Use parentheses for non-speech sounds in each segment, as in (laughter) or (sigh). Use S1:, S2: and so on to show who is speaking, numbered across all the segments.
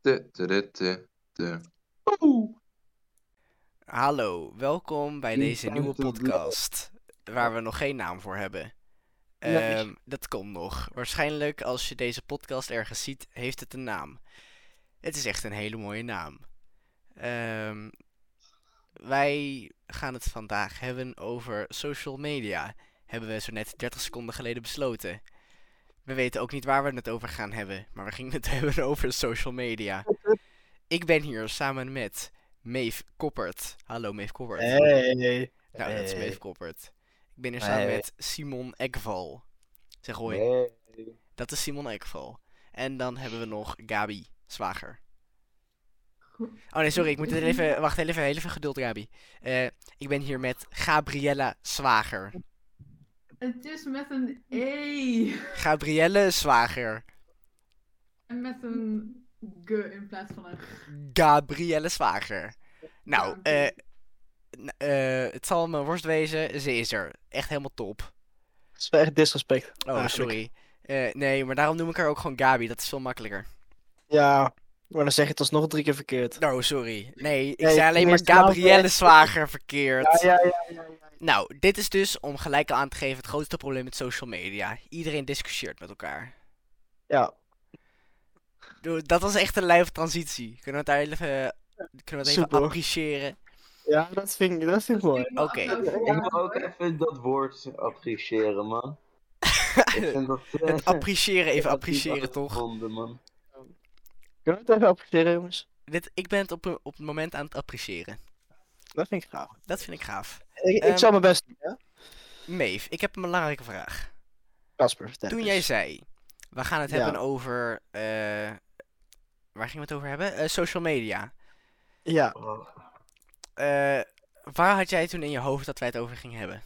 S1: Te, te, te, te, te.
S2: Hallo, welkom bij
S1: Die
S2: deze nieuwe
S1: foute
S2: podcast. Waar we nog geen naam voor hebben.
S1: Nee.
S2: Ehm, dat komt nog. Waarschijnlijk als je deze podcast ergens ziet, heeft het een naam. Het is echt een hele mooie naam. Ehm, wij gaan het vandaag hebben over social media. Hebben we zo net 30 seconden geleden besloten. We weten ook niet waar we het over gaan hebben, maar we gingen het (laughs) hebben over social media. Ik ben hier samen met Meef Koppert. Hallo Meef Koppert.
S3: Hey.
S2: Nou, dat is
S3: Hey.
S2: Meef Koppert. Ik ben hier samen
S3: Hey.
S2: met Simon Ekval. Zeg hoi, dat is Simon Ekval. En dan hebben we nog Gabi Zwager. Oh nee, sorry, ik moet het even... Wacht, heel even, heel even geduld, Gabi. Eh, ik ben hier met Gabriella Zwager.
S4: Het is met een E.
S2: Gabrielle Zwager.
S4: En met een G in plaats van een G.
S2: Gabrielle Zwager. Nou,
S4: Ja.
S2: eh, n- eh, het zal mijn worst wezen, ze is er. Echt helemaal top.
S3: Dat is wel echt disrespect.
S2: Oh,
S3: eigenlijk.
S2: sorry. Eh, nee, maar daarom noem ik haar ook gewoon Gabi. Dat is veel makkelijker.
S3: Ja, maar dan zeg je het alsnog drie keer verkeerd.
S2: Oh, sorry. Nee, ik
S3: Nee,
S2: zei alleen maar
S3: nee, snap
S2: Gabrielle
S3: ik.
S2: Zwager verkeerd.
S3: ja, ja. ja,
S2: Nou, dit is dus, om gelijk al aan te geven, het grootste probleem met social media. Iedereen discussieert met elkaar.
S3: ja.
S2: Doe- Dat was echt een lijve transitie. Kunnen we het daar even, kunnen we het even
S3: Super.
S2: appreciëren?
S3: Ja, dat vind ik, dat vind ik mooi.
S2: Oké.
S1: Ik wil ook even dat woord appreciëren, man.
S2: (laughs)
S1: Ik vind dat, eh,
S2: het appreciëren, even appreciëren,
S1: dat
S2: toch?
S1: gevonden, man.
S3: Kunnen we het even appreciëren, jongens?
S2: Dit, ik ben het op, een- op het moment aan het appreciëren.
S3: Dat vind ik gaaf.
S2: Dat vind ik gaaf.
S3: Ik,
S2: Ehm,
S3: ik zal mijn best doen, hè?
S2: Meef, ik heb een belangrijke vraag.
S3: Casper, vertel
S2: Toen
S3: eens.
S2: jij zei, we gaan het
S3: Ja.
S2: hebben over. eh, waar gingen we het over hebben? Eh, social media.
S3: Ja,
S1: Oh,
S2: Eh, waar had jij toen in je hoofd dat wij het over gingen hebben?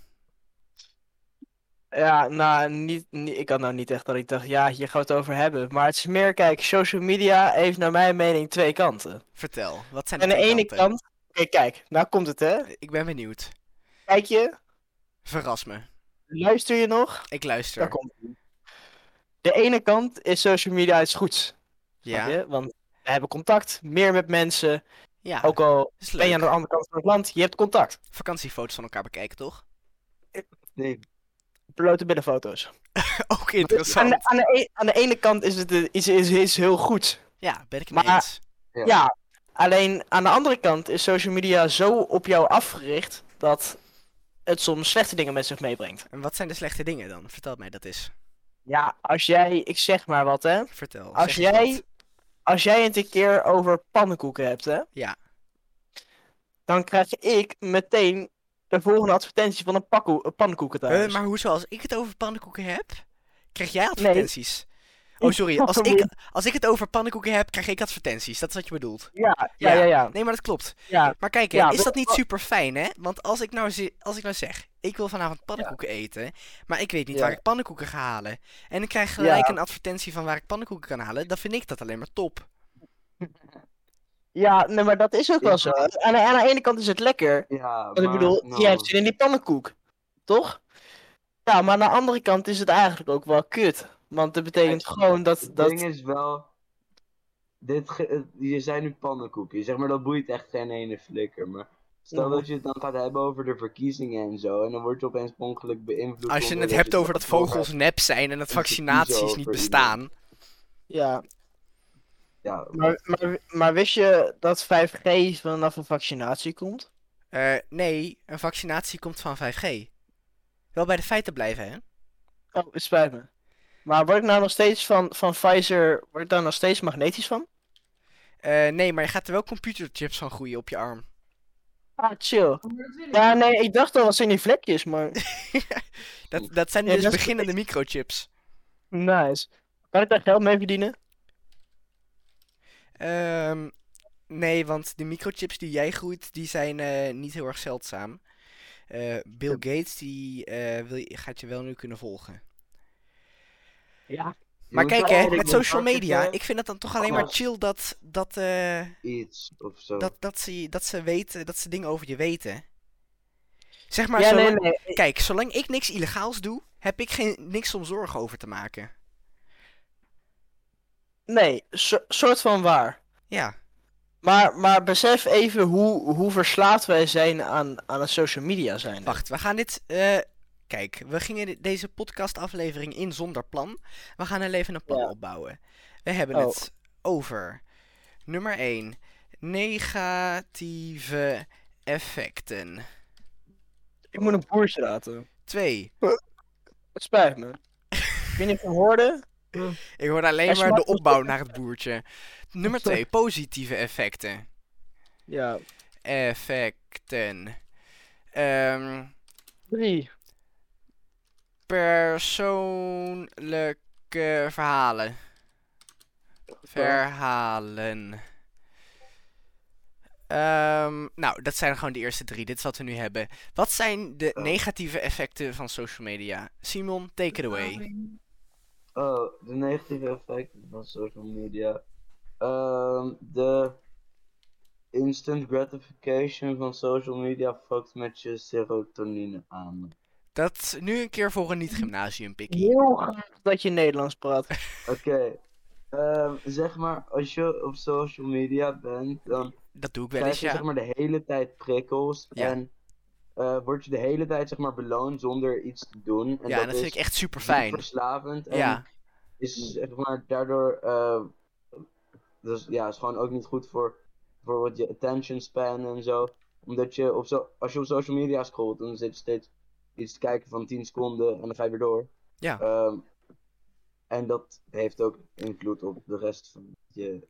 S3: ja nou, niet, niet, ik had nou niet echt dat ik dacht, ja, hier gaan we het over hebben. Maar het is meer, kijk, social media heeft naar mijn mening twee kanten.
S2: Vertel, wat zijn
S3: Aan de
S2: twee
S3: ene
S2: kanten?
S3: kant, oké, kijk, nou komt het, hè.
S2: Ik ben benieuwd.
S3: Kijk je,
S2: Verras me.
S3: luister je nog?
S2: Ik
S3: Daar
S2: luister.
S3: komt het. De ene kant is social media iets goeds. Snap
S2: Ja,
S3: je? Want we hebben contact, meer met mensen.
S2: ja.
S3: Ook al
S2: is
S3: ben je aan
S2: leuk.
S3: de andere kant van het land, je hebt contact.
S2: Vakantiefoto's van elkaar bekijken, toch? (laughs)
S1: nee.
S3: Blote billenfoto's.
S2: Ook
S3: Aan de,
S2: interessant.
S3: aan, de e- aan de ene kant is het eh, iets, is, is heel goed.
S2: Ja, ben ik het mee
S3: Maar-
S2: eens.
S1: Ja.
S3: Ja. Alleen aan de andere kant is social media zo op jou afgericht dat het soms slechte dingen met zich meebrengt.
S2: En wat zijn de slechte dingen dan? Vertel mij dat eens.
S3: Ja, als jij, ik zeg maar wat hè.
S2: Vertel.
S3: Als
S2: zeg eens
S3: jij-
S2: wat.
S3: Als jij het een keer over pannenkoeken hebt hè.
S2: Ja.
S3: Dan krijg ik meteen de volgende advertentie van een, pakkoe, een pannenkoeken
S2: Huh,
S3: thuis.
S2: Eh, maar hoezo, als ik het over pannenkoeken heb, krijg jij advertenties? Oh, sorry. Als
S3: Sorry.
S2: ik, als ik het over pannenkoeken heb, krijg ik advertenties. Dat is wat je bedoelt.
S3: Ja, ja, ja, ja.
S2: Nee, maar dat klopt.
S3: ja.
S2: Maar kijk, hè,
S3: Ja,
S2: is
S3: dat-
S2: dat niet super fijn, hè? Want als ik, nou zi- als ik nou zeg, ik wil vanavond pannenkoeken eten, maar ik weet niet
S3: Ja.
S2: waar ik pannenkoeken ga halen. En ik krijg
S3: Ja.
S2: gelijk een advertentie van waar ik pannenkoeken kan halen, dan vind ik dat alleen maar top.
S3: Ja, nee, maar dat is ook wel zo.
S1: Ja.
S3: Aan de, aan de ene kant is het lekker.
S1: Ja,
S3: Want ik
S1: maar,
S3: bedoel,
S1: nou,
S3: jij hebt zin in die pannenkoek. Toch? Ja, maar aan de andere kant is het eigenlijk ook wel kut. Want dat betekent
S1: Kijk,
S3: gewoon dat...
S1: Het
S3: dat...
S1: ding is wel... Dit ge- het- je zijn nu pannenkoekjes. Zeg maar, dat boeit echt geen ene flikker. Maar stel
S3: Ja.
S1: dat je het dan gaat hebben over de verkiezingen en zo. En dan word je opeens per ongeluk beïnvloed.
S2: Als je
S1: door
S2: het
S1: dat
S2: hebt over dat
S1: zelf
S2: vogels nep zijn en dat
S1: En te kiezen
S2: vaccinaties niet
S1: over
S2: bestaan.
S3: Ja,
S1: Ja,
S3: maar, maar, maar wist je dat 5G vanaf een vaccinatie komt?
S2: Eh, nee, een vaccinatie komt van 5G. Wel bij de feiten blijven, hè?
S3: Oh, het spijt me. Maar word ik nou nog steeds van, van Pfizer... Word ik daar nog steeds magnetisch van?
S2: Eh, nee, maar je gaat er wel computerchips van groeien op je arm.
S3: Ah, chill.
S4: Maar dat wil ik
S3: Ja,
S4: niet.
S3: nee, ik dacht al, wat zijn die vlekjes, maar... (laughs)
S2: Dat, dat zijn
S3: Ja,
S2: dus
S3: dat is-
S2: beginnende microchips.
S3: Nice. Kan ik daar geld mee verdienen?
S2: Ehm, nee, want de microchips die jij groeit, die zijn eh, niet heel erg zeldzaam. Eh, Bill Gates, die eh, wil je, gaat je wel nu kunnen volgen.
S3: Ja,
S1: je
S2: Maar
S1: moet
S2: kijk,
S1: wel
S2: hè,
S1: altijd
S2: met
S1: een
S2: social
S1: market
S2: media,
S1: hebben,
S2: ik vind het dan toch alleen
S3: Oh.
S2: maar
S1: Alles.
S2: chill dat, dat, eh,
S1: Iets of zo.
S2: dat, dat, ze, dat ze weten, dat ze dingen over je weten. Zeg maar,
S3: ja,
S2: zolang-
S3: nee, nee.
S2: kijk, zolang ik niks illegaals doe, heb ik geen, niks om zorgen over te maken.
S3: Nee, so- soort van waar.
S2: Ja,
S3: Maar, maar besef even hoe, hoe verslaafd wij zijn aan, aan het social media zijn.
S2: wacht, we gaan dit. eh, kijk, we gingen de- deze podcastaflevering in zonder plan. We gaan er even een plan
S3: Ja.
S2: opbouwen. We hebben
S3: Oh.
S2: het over nummer 1: negatieve effecten.
S3: Ik moet een boertje laten.
S2: 2.
S3: Het spijt me. Ik weet niet of je hem hoorde.
S2: Ik hoor alleen
S3: Hij
S2: maar de
S3: smaakt-
S2: opbouw naar het boertje. Nummer
S3: (laughs)
S2: 2: positieve effecten.
S3: Ja.
S2: effecten. Ehm,
S3: Drie.
S2: persoonlijke verhalen. Verhalen. Ehm, nou, dat zijn gewoon de eerste drie. Dit is wat we nu hebben. Wat zijn de
S1: Oh.
S2: negatieve effecten van social media? Simon, take it away.
S4: Verslaving.
S1: Oh, de negatieve effecten van social media. Ehm, de instant gratification van social media fuckt met je serotonine aan.
S2: Dat is nu een keer voor een niet-gymnasium, Pikkie.
S3: Heel graag dat je Nederlands praat.
S1: Oké. Ehm, zeg maar, als je op social media bent, dan
S2: Dat doe ik wel eens,
S1: krijg je zeg
S2: ja.
S1: maar de hele tijd prikkels.
S2: Ja.
S1: En eh, word je de hele tijd zeg maar beloond zonder iets te doen. En
S2: Ja, dat
S1: is
S2: vind ik echt super
S1: diep
S2: fijn.
S1: verslavend. En
S2: Ja,
S1: is zeg Mm. maar daardoor eh, dus ja is gewoon ook niet goed voor bijvoorbeeld je attention span en zo omdat je op zo als je op social media scrolt dan zit je steeds iets te kijken van 10 seconden en dan ga je weer door
S2: Ja.
S1: Ehm, en dat heeft ook invloed op de rest van je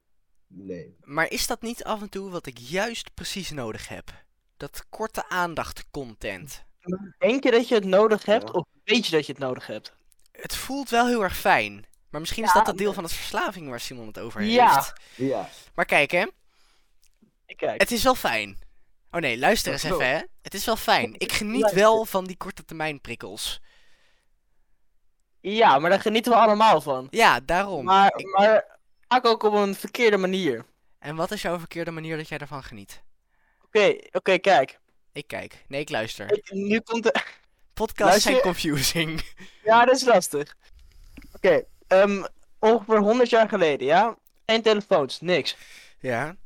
S1: leven
S2: Maar is dat niet af en toe wat ik juist precies nodig heb? Dat korte aandacht content.
S3: Denk je dat je het nodig hebt
S1: Ja.
S3: of weet je dat je het nodig hebt?
S2: Het voelt wel heel erg fijn. Maar misschien is
S3: Ja,
S2: dat dat deel van het verslaving waar Simon het over heeft.
S3: Ja.
S1: ja
S2: Maar kijk hè,
S3: Ik kijk.
S2: het is wel fijn. Oh nee, luister eens
S1: Dat klopt.
S2: even hè. Het is wel fijn. Ik geniet
S3: Luister.
S2: wel van die korte termijn prikkels.
S3: Ja, maar daar genieten we allemaal van.
S2: Ja, daarom.
S3: Maar,
S2: Ik-
S3: maar vaak ook op een verkeerde manier. Oké,
S2: En wat is jouw verkeerde manier dat jij ervan geniet?
S3: oké, kijk.
S2: Ik kijk. Nee, ik luister.
S3: Ik- nu komt de... (laughs)
S2: Podcasts zijn
S3: Luister.
S2: confusing. (laughs)
S3: Ja, dat is lastig. Oké, ehm, ongeveer 100 jaar geleden, ja? Geen telefoons, niks.
S2: Ja.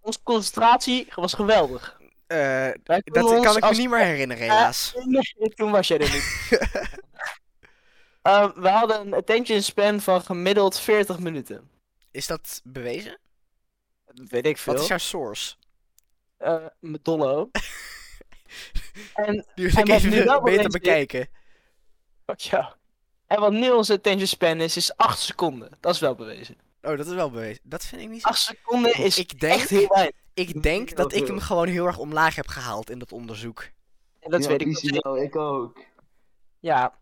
S3: Onze concentratie was geweldig.
S2: eh,
S3: Wij konden
S2: dat
S3: ons
S2: kan ik me
S3: als- Eh.
S2: niet meer herinneren helaas.
S3: Nee, (laughs) toen was jij
S2: (laughs)
S3: er niet. Ehm, we hadden een attention span van gemiddeld 40 minuten.
S2: Is dat bewezen?
S3: Weet ik
S2: Wat
S3: veel.
S2: is jouw source?
S3: Eh, mijn
S2: (laughs)
S3: dollo. en,
S2: Nu wil ik
S3: wat nu wel
S2: even (laughs) beter
S3: bewezen is-
S2: bekijken.
S3: fuck jou. En wat nu onze attention span is, is 8 seconden. Dat is wel bewezen.
S2: Oh, dat is wel bewezen. Dat vind ik niet zo...
S3: 8 seconden is
S2: Ik denk-
S3: echt heel weinig.
S2: Ik
S1: heel
S2: denk dat ik hem
S1: veel.
S2: gewoon heel erg omlaag heb gehaald in dat onderzoek.
S3: En dat
S1: Ja,
S3: weet ik nog
S1: easy
S3: steeds.
S1: wel, ik ook
S3: Ja.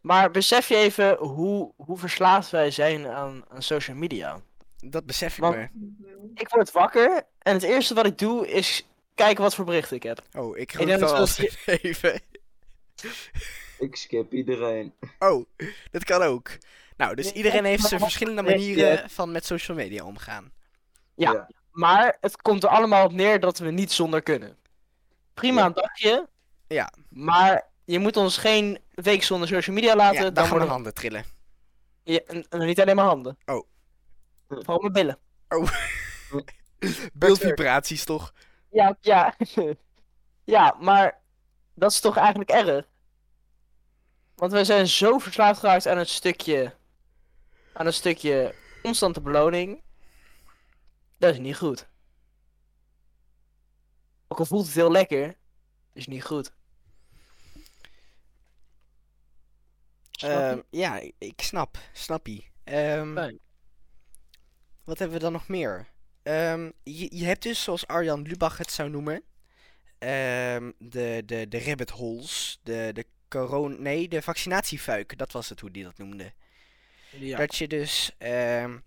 S3: Maar besef je even hoe, hoe verslaafd wij zijn aan, aan social media.
S2: Dat besef ik
S3: Want-
S2: me.
S3: Ik word wakker en het eerste wat ik doe is kijken wat voor berichten ik heb.
S2: Oh, ik
S3: denk
S2: roep wel
S3: dat
S2: als
S3: we-
S2: even.
S1: ik skip iedereen
S2: (laughs) Oh, dat kan ook. Nou, dus
S3: Nee,
S2: iedereen
S3: echt,
S2: heeft
S3: maar
S2: zijn
S3: wat-
S2: verschillende
S3: nee,
S2: manieren van met social media omgaan.
S3: Ja.
S1: Ja.
S3: Maar het komt er allemaal op neer dat we niet zonder kunnen. Prima
S1: Ja.
S3: een dagje.
S2: Ja.
S3: Maar je moet ons geen week zonder social media laten.
S2: Ja, dan
S3: dan
S2: gaan mijn
S3: worden
S2: handen trillen.
S3: (laughs) ja, en, en niet alleen mijn handen.
S2: Oh.
S3: Vooral mijn billen.
S2: Beeldvibraties toch?
S3: Ja, ja. (laughs) ja, maar dat is toch eigenlijk erg? Want wij zijn zo verslaafd geraakt aan het stukje. aan het stukje constante beloning. Dat is niet goed. Ook al voelt het heel lekker, is niet goed. Snap je?
S2: Ehm, ja, ik- ik snap. Snappie. Ehm,
S3: Fijn.
S2: wat hebben we dan nog meer? Ehm, je, je hebt dus, zoals Arjan Lubach het zou noemen, ehm, de, de, de rabbit holes, de, de corona... Nee, de vaccinatiefuik. Dat was het hoe die dat noemde.
S3: ja.
S2: Dat je dus. ehm,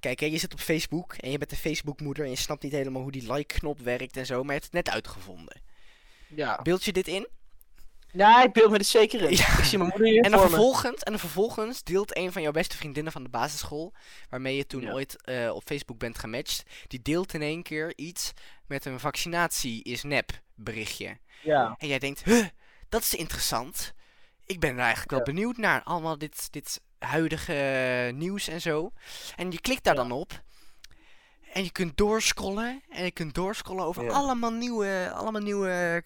S2: kijk, hè, je zit op Facebook en je bent een Facebook-moeder en je snapt niet helemaal hoe die like-knop werkt en zo, maar je hebt het net uitgevonden.
S3: ja.
S2: Beeld je dit in?
S3: Ja, ik beeld me dit zeker in.
S2: Ja.
S3: Ik zie mijn moeder hier
S2: En dan,
S3: voor me.
S2: vervolgens, en dan vervolgens deelt een van jouw beste vriendinnen van de basisschool, waarmee je toen
S3: Ja.
S2: ooit eh, op Facebook bent gematcht, die deelt in één keer iets met een vaccinatie is nep berichtje.
S3: Ja.
S2: En jij denkt, huh, dat is interessant. Ik ben er eigenlijk wel benieuwd naar. Allemaal eh, dit, dit huidige nieuws en zo. En je klikt daar dan op. En En je kunt doorscrollen. En je kunt doorscrollen over
S1: Ja.
S2: allemaal, nieuwe, allemaal nieuwe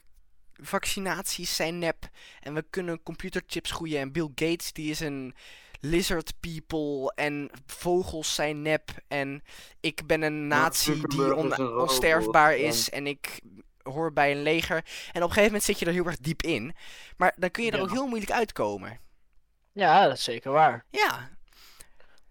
S2: vaccinaties zijn nep. En we kunnen computerchips groeien. En Bill Gates die is een lizard people. En vogels zijn nep. En ik ben een
S1: Mark
S2: nazi die
S1: Zuckerberg
S2: on-
S1: is een robot,
S2: onsterfbaar
S1: en-
S2: is. En ik hoor bij een leger. En op een gegeven moment zit je er heel erg diep in. Maar dan kun je er
S3: Ja.
S2: ook heel moeilijk uitkomen.
S3: Ja, dat is zeker waar.
S2: Ja,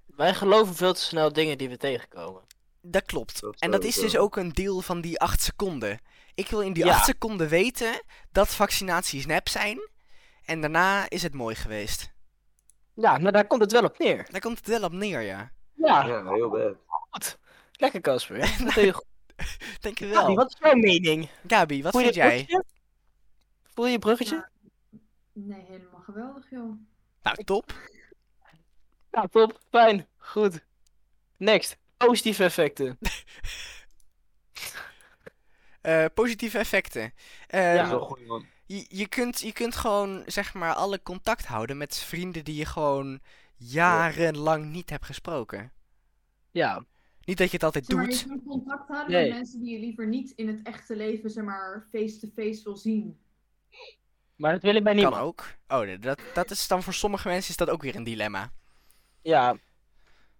S3: Wij geloven veel te snel dingen die we tegenkomen.
S2: Dat klopt.
S1: Dat
S2: en
S1: zou
S2: dat
S1: ik
S2: is dus
S1: wel.
S2: ook een deel van die acht seconden. Ik wil in die
S3: Ja.
S2: acht seconden weten dat vaccinaties nep zijn. En daarna is het mooi geweest.
S3: Ja, nou daar komt het wel op neer.
S2: Daar komt het wel op neer, ja. Ah.
S3: Ja,
S1: Ja, heel bad.
S3: goed. Lekker
S2: (laughs)
S3: Casper. hè? Dat doe je goed.
S2: Dankjewel.
S3: Gabi,
S2: Gabi, wat,
S3: wat is jouw mening?
S2: wat
S3: Voel je
S2: vind
S3: het
S2: jij?
S3: bruggetje? Voel je het bruggetje?
S4: Nee, helemaal geweldig, joh.
S2: Nou, top.
S3: Ja, top. Fijn. Goed. Next. Positieve effecten.
S2: Eh, positieve effecten.
S1: Dat is
S2: Ehm,
S1: wel goed, man.
S2: je, je, kunt, je kunt gewoon, zeg maar, alle contact houden met vrienden die je gewoon jarenlang niet hebt gesproken.
S3: (laughs) Ja.
S2: Niet dat je het altijd
S4: Zeg maar,
S2: doet.
S4: je kunt contact houden
S3: Nee.
S4: met mensen die je liever niet in het echte leven, zeg maar, face-to-face wil zien.
S3: Maar dat wil ik bij niemand.
S2: Kan ook. Oh, nee, dat, dat is dan voor sommige mensen is dat ook weer een dilemma.
S3: Ja.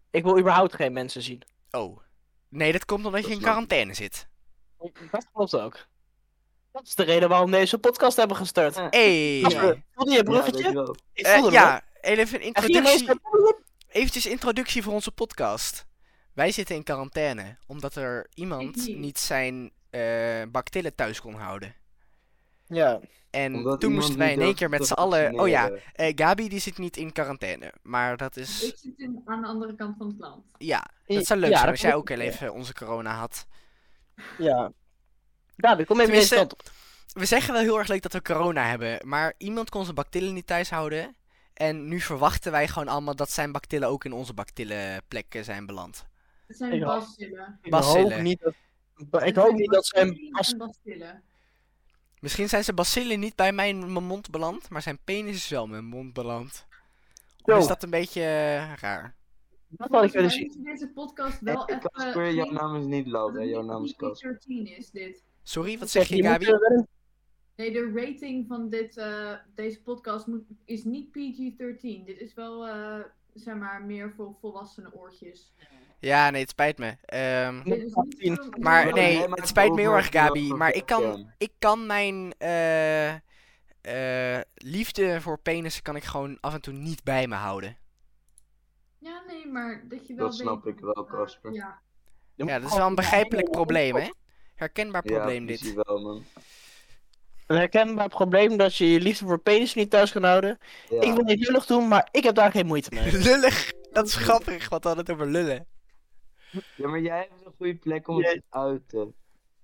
S3: Ik wil überhaupt geen mensen zien.
S2: Oh. Nee, dat komt omdat
S1: Dat
S2: je in
S1: snap ik.
S2: quarantaine zit.
S3: Dat klopt ook. Dat is de reden waarom we deze podcast hebben gestart.
S2: Hey.
S3: Casper, voelde je het
S1: Ja, weet
S3: bruggetje?
S1: je wel.
S3: ik
S2: Eh,
S3: voelde hem wel.
S2: ja, even een
S3: En ineens-
S2: introductie, eventjes introductie voor onze podcast. Wij zitten in quarantaine, omdat er iemand
S4: niet.
S2: niet zijn eh bactillen thuis kon houden.
S3: Ja.
S2: En
S1: Omdat
S2: toen
S1: iemand
S2: moesten wij
S1: niet
S2: in één
S1: durft
S2: keer met
S1: te
S2: z'n allen... Oh ja,
S1: vaccineren.
S2: eh, Gabi die zit niet in quarantaine. Maar dat is...
S4: Ik zit in, aan de andere kant van het land.
S2: Ja, dat zou leuk
S3: Ja,
S2: zijn
S3: dat
S2: als jij
S3: klopt.
S2: ook al even onze corona had.
S3: Ja. Gabi, kom even
S2: Tenminste-
S3: deze kant op.
S2: We zeggen wel heel erg leuk dat we corona hebben, maar iemand kon zijn bactillen niet thuis houden. En nu verwachten wij gewoon allemaal dat zijn bactillen ook in onze bactillenplekken zijn beland.
S4: Het zijn
S3: Ik hoop-
S4: bastillen.
S3: Ik
S2: Bacillen.
S3: hoop niet dat... Ik
S4: Het
S3: hoop
S4: zijn
S3: niet dat zijn...
S4: bacillen
S3: bas-
S4: en bastillen.
S2: Misschien zijn zijn bacillen niet bij mij in mijn mond beland, maar zijn penis is wel in mijn mond beland. Of
S3: Yo,
S2: is dat een beetje eh, raar?
S3: dat wil ik willen
S4: Volgens mij
S3: zien.
S4: moeten we deze podcast wel eh,
S1: Hey,
S4: even...
S1: Casper, jouw naam is niet
S4: dat
S1: Laura,
S4: het
S1: jouw
S4: niet
S1: naam is Casper.
S4: PG-13 is dit.
S2: Sorry, wat zeg je,
S3: moet
S2: Gabi?
S3: er wel een-
S4: Nee, de rating van dit, eh, deze podcast moet, is niet PG-13. Dit is wel, eh, zeg maar, meer voor volwassenen oortjes.
S2: Ja, nee, het spijt me. Ehm,
S3: Nee,
S4: Dit is niet
S3: tien.
S4: voor-
S2: Maar
S1: Maar
S2: nee,
S1: Oh, jij
S2: het
S1: maakt
S2: spijt me heel
S1: overal
S2: erg, Gabi,
S1: gebruik
S2: maar
S1: van
S2: ik kan,
S1: webcam.
S2: ik kan mijn eh, eh, liefde voor penissen kan ik gewoon af en toe niet bij me houden.
S4: Ja, nee, maar dat je wel
S1: Dat snap
S4: weet-
S1: ik wel,
S4: eh,
S1: Casper.
S4: ja.
S2: Ja, dat is wel een begrijpelijk probleem, hè? Herkenbaar probleem
S1: ja,
S2: dit.
S1: precies wel, man.
S3: Een herkenbaar probleem dat je je liefde voor penis niet thuis kan houden.
S1: Ja.
S3: Ik wil niet lullig doen, maar ik heb daar geen moeite mee.
S2: (laughs) Lullig! Dat is grappig, want we hadden het over lullen.
S1: Ja, maar jij hebt een goede plek om het
S3: Jij-
S1: te uiten.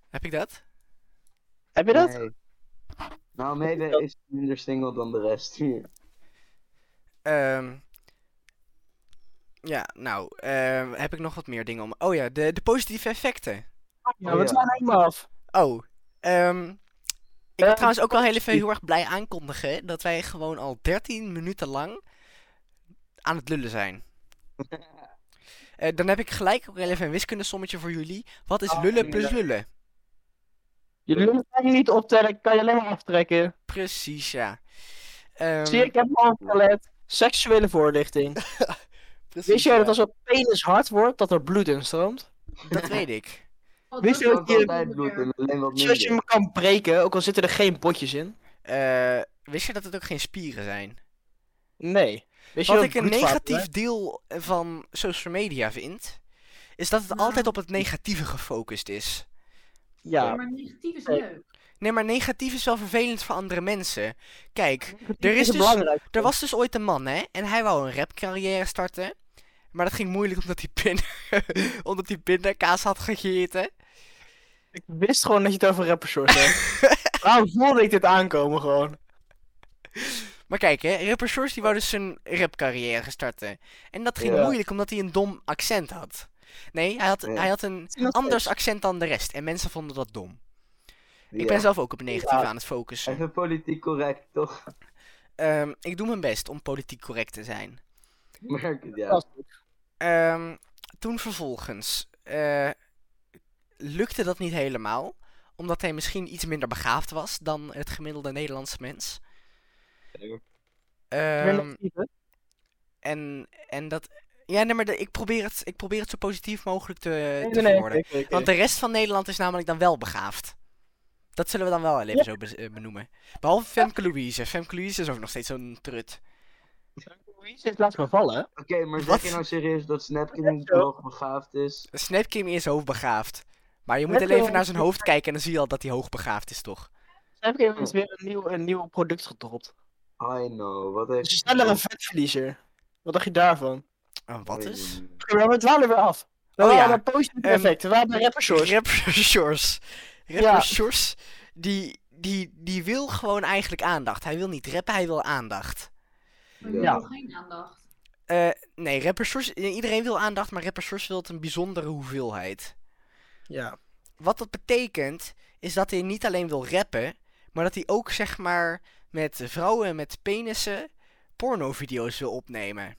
S2: Heb ik dat?
S3: heb je dat?
S1: Nee. Nou, Mede is minder single dan de rest (laughs) hier.
S2: Ehm, ja, nou, ehm, heb ik nog wat meer dingen om. Oh ja, de, de positieve effecten.
S3: Ja, Nou, we
S1: Ja.
S3: zijn helemaal af.
S2: Oh, ehm, ik wil
S3: Eh,
S2: trouwens ook wel heel even heel erg blij aankondigen dat wij gewoon al 13 minuten lang aan het lullen
S3: (laughs)
S2: zijn. Eh, dan heb ik gelijk ook heel even een wiskundesommetje voor jullie. Wat is
S3: Ah,
S1: Oh,
S2: lullen plus
S1: ja.
S2: lullen?
S3: Je lullen kan je niet optellen, kan je alleen maar aftrekken.
S2: Precies, ja. Ehm,
S3: Zie, ik heb me al gelet. Seksuele
S2: (laughs)
S3: voorlichting.
S2: precies,
S3: Wist jij
S2: ja.
S3: dat als een penis hard wordt, dat er bloed in stroomt?
S2: Dat weet ik.
S4: Oh,
S3: Wist
S4: dat
S3: je
S1: Ik
S3: ook
S4: is
S1: had
S3: je-
S4: wel
S1: altijd bloed in, alleen wat
S3: Zodat je
S1: minder.
S3: hem kan breken, ook al zitten er geen botjes in.
S2: Eh, wist je dat het ook geen spieren zijn?
S3: Nee. Wist je
S2: Wat
S3: dat
S2: ik een
S3: bloedvaten-
S2: negatief deel eh, van social media vind, is dat het
S4: Nou.
S2: altijd op het negatieve gefocust is.
S4: Ja,
S3: Ja.
S4: maar negatief is
S3: Nee.
S4: leuk.
S2: Nee, maar negatief is wel vervelend voor andere mensen. Kijk, er,
S3: Dit
S2: is dus,
S3: belangrijk.
S2: er was dus ooit een man, hè? En hij wou een rapcarrière starten. Maar dat ging moeilijk omdat hij, pin... (laughs) omdat hij pindakaas had gegeten.
S3: Ik wist gewoon dat je het over rappers hoort. (laughs) hè. Waarom voelde ik dit aankomen gewoon?
S2: Maar kijk, hè, rapper Shores die wou dus zijn rapcarrière starten. En dat ging
S1: Ja.
S2: moeilijk omdat hij een dom accent had. Nee, hij had,
S1: Ja.
S2: hij had een
S3: Zie je nog
S2: anders
S3: steeds?
S2: accent dan de rest. En mensen vonden dat dom. Ik
S1: Ja.
S2: ben zelf ook op negatief
S3: Ja.
S2: aan het focussen.
S1: Even politiek correct, toch? (laughs)
S2: Ehm, ik doe mijn best om politiek correct te zijn.
S1: Ik Merk het, ja.
S3: Als-
S2: Ehm, toen vervolgens eh, lukte dat niet helemaal. Omdat hij misschien iets minder begaafd was dan het gemiddelde Nederlandse mens.
S1: Zeker.
S2: Ehm, en, en dat. Ja, nee, maar de- ik, probeer het, ik probeer het zo positief mogelijk te, te verwoorden. Want de rest van Nederland is namelijk dan wel begaafd. Dat zullen we dan wel even
S3: Ja.
S2: zo bez- eh, benoemen. Behalve Femke Louise. Femke Louise is ook nog steeds zo'n trut.
S3: Louise eh, is laatst me vallen.
S1: Oké, maar
S2: Wat?
S1: zeg je nou serieus dat Snapkin niet
S3: zo.
S1: hoog begaafd is?
S2: Snapkim is hoogbegaafd. Maar je moet
S3: Net
S2: alleen even
S3: zo.
S2: naar zijn hoofd kijken en dan zie je al dat hij hoogbegaafd is, toch?
S3: Snap ik eens weer Dus een nieuw, een nieuw product gedropt. Dus
S1: I know, wat heeft...
S3: Ze sneller een vetverliezer. Wat dacht je daarvan?
S2: Eh, wat is?
S3: Oké, maar we dwalen weer af. We
S2: Oh
S3: waren
S2: ja,
S3: bij positief
S2: ehm,
S3: effect. We waren bij rapper shorts.
S2: Rapper Shores. Rapper Shores, die, die, die wil gewoon eigenlijk aandacht. Hij wil niet rappen, hij wil aandacht.
S4: Maar ik
S1: Ja.
S4: wil geen aandacht.
S2: Eh, nee, Rapper Shores, iedereen wil aandacht, maar Rapper Shores wil het een bijzondere hoeveelheid.
S3: Ja.
S2: Wat dat betekent, is dat hij niet alleen wil rappen, maar dat hij ook zeg maar met vrouwen met penissen pornovideo's wil opnemen.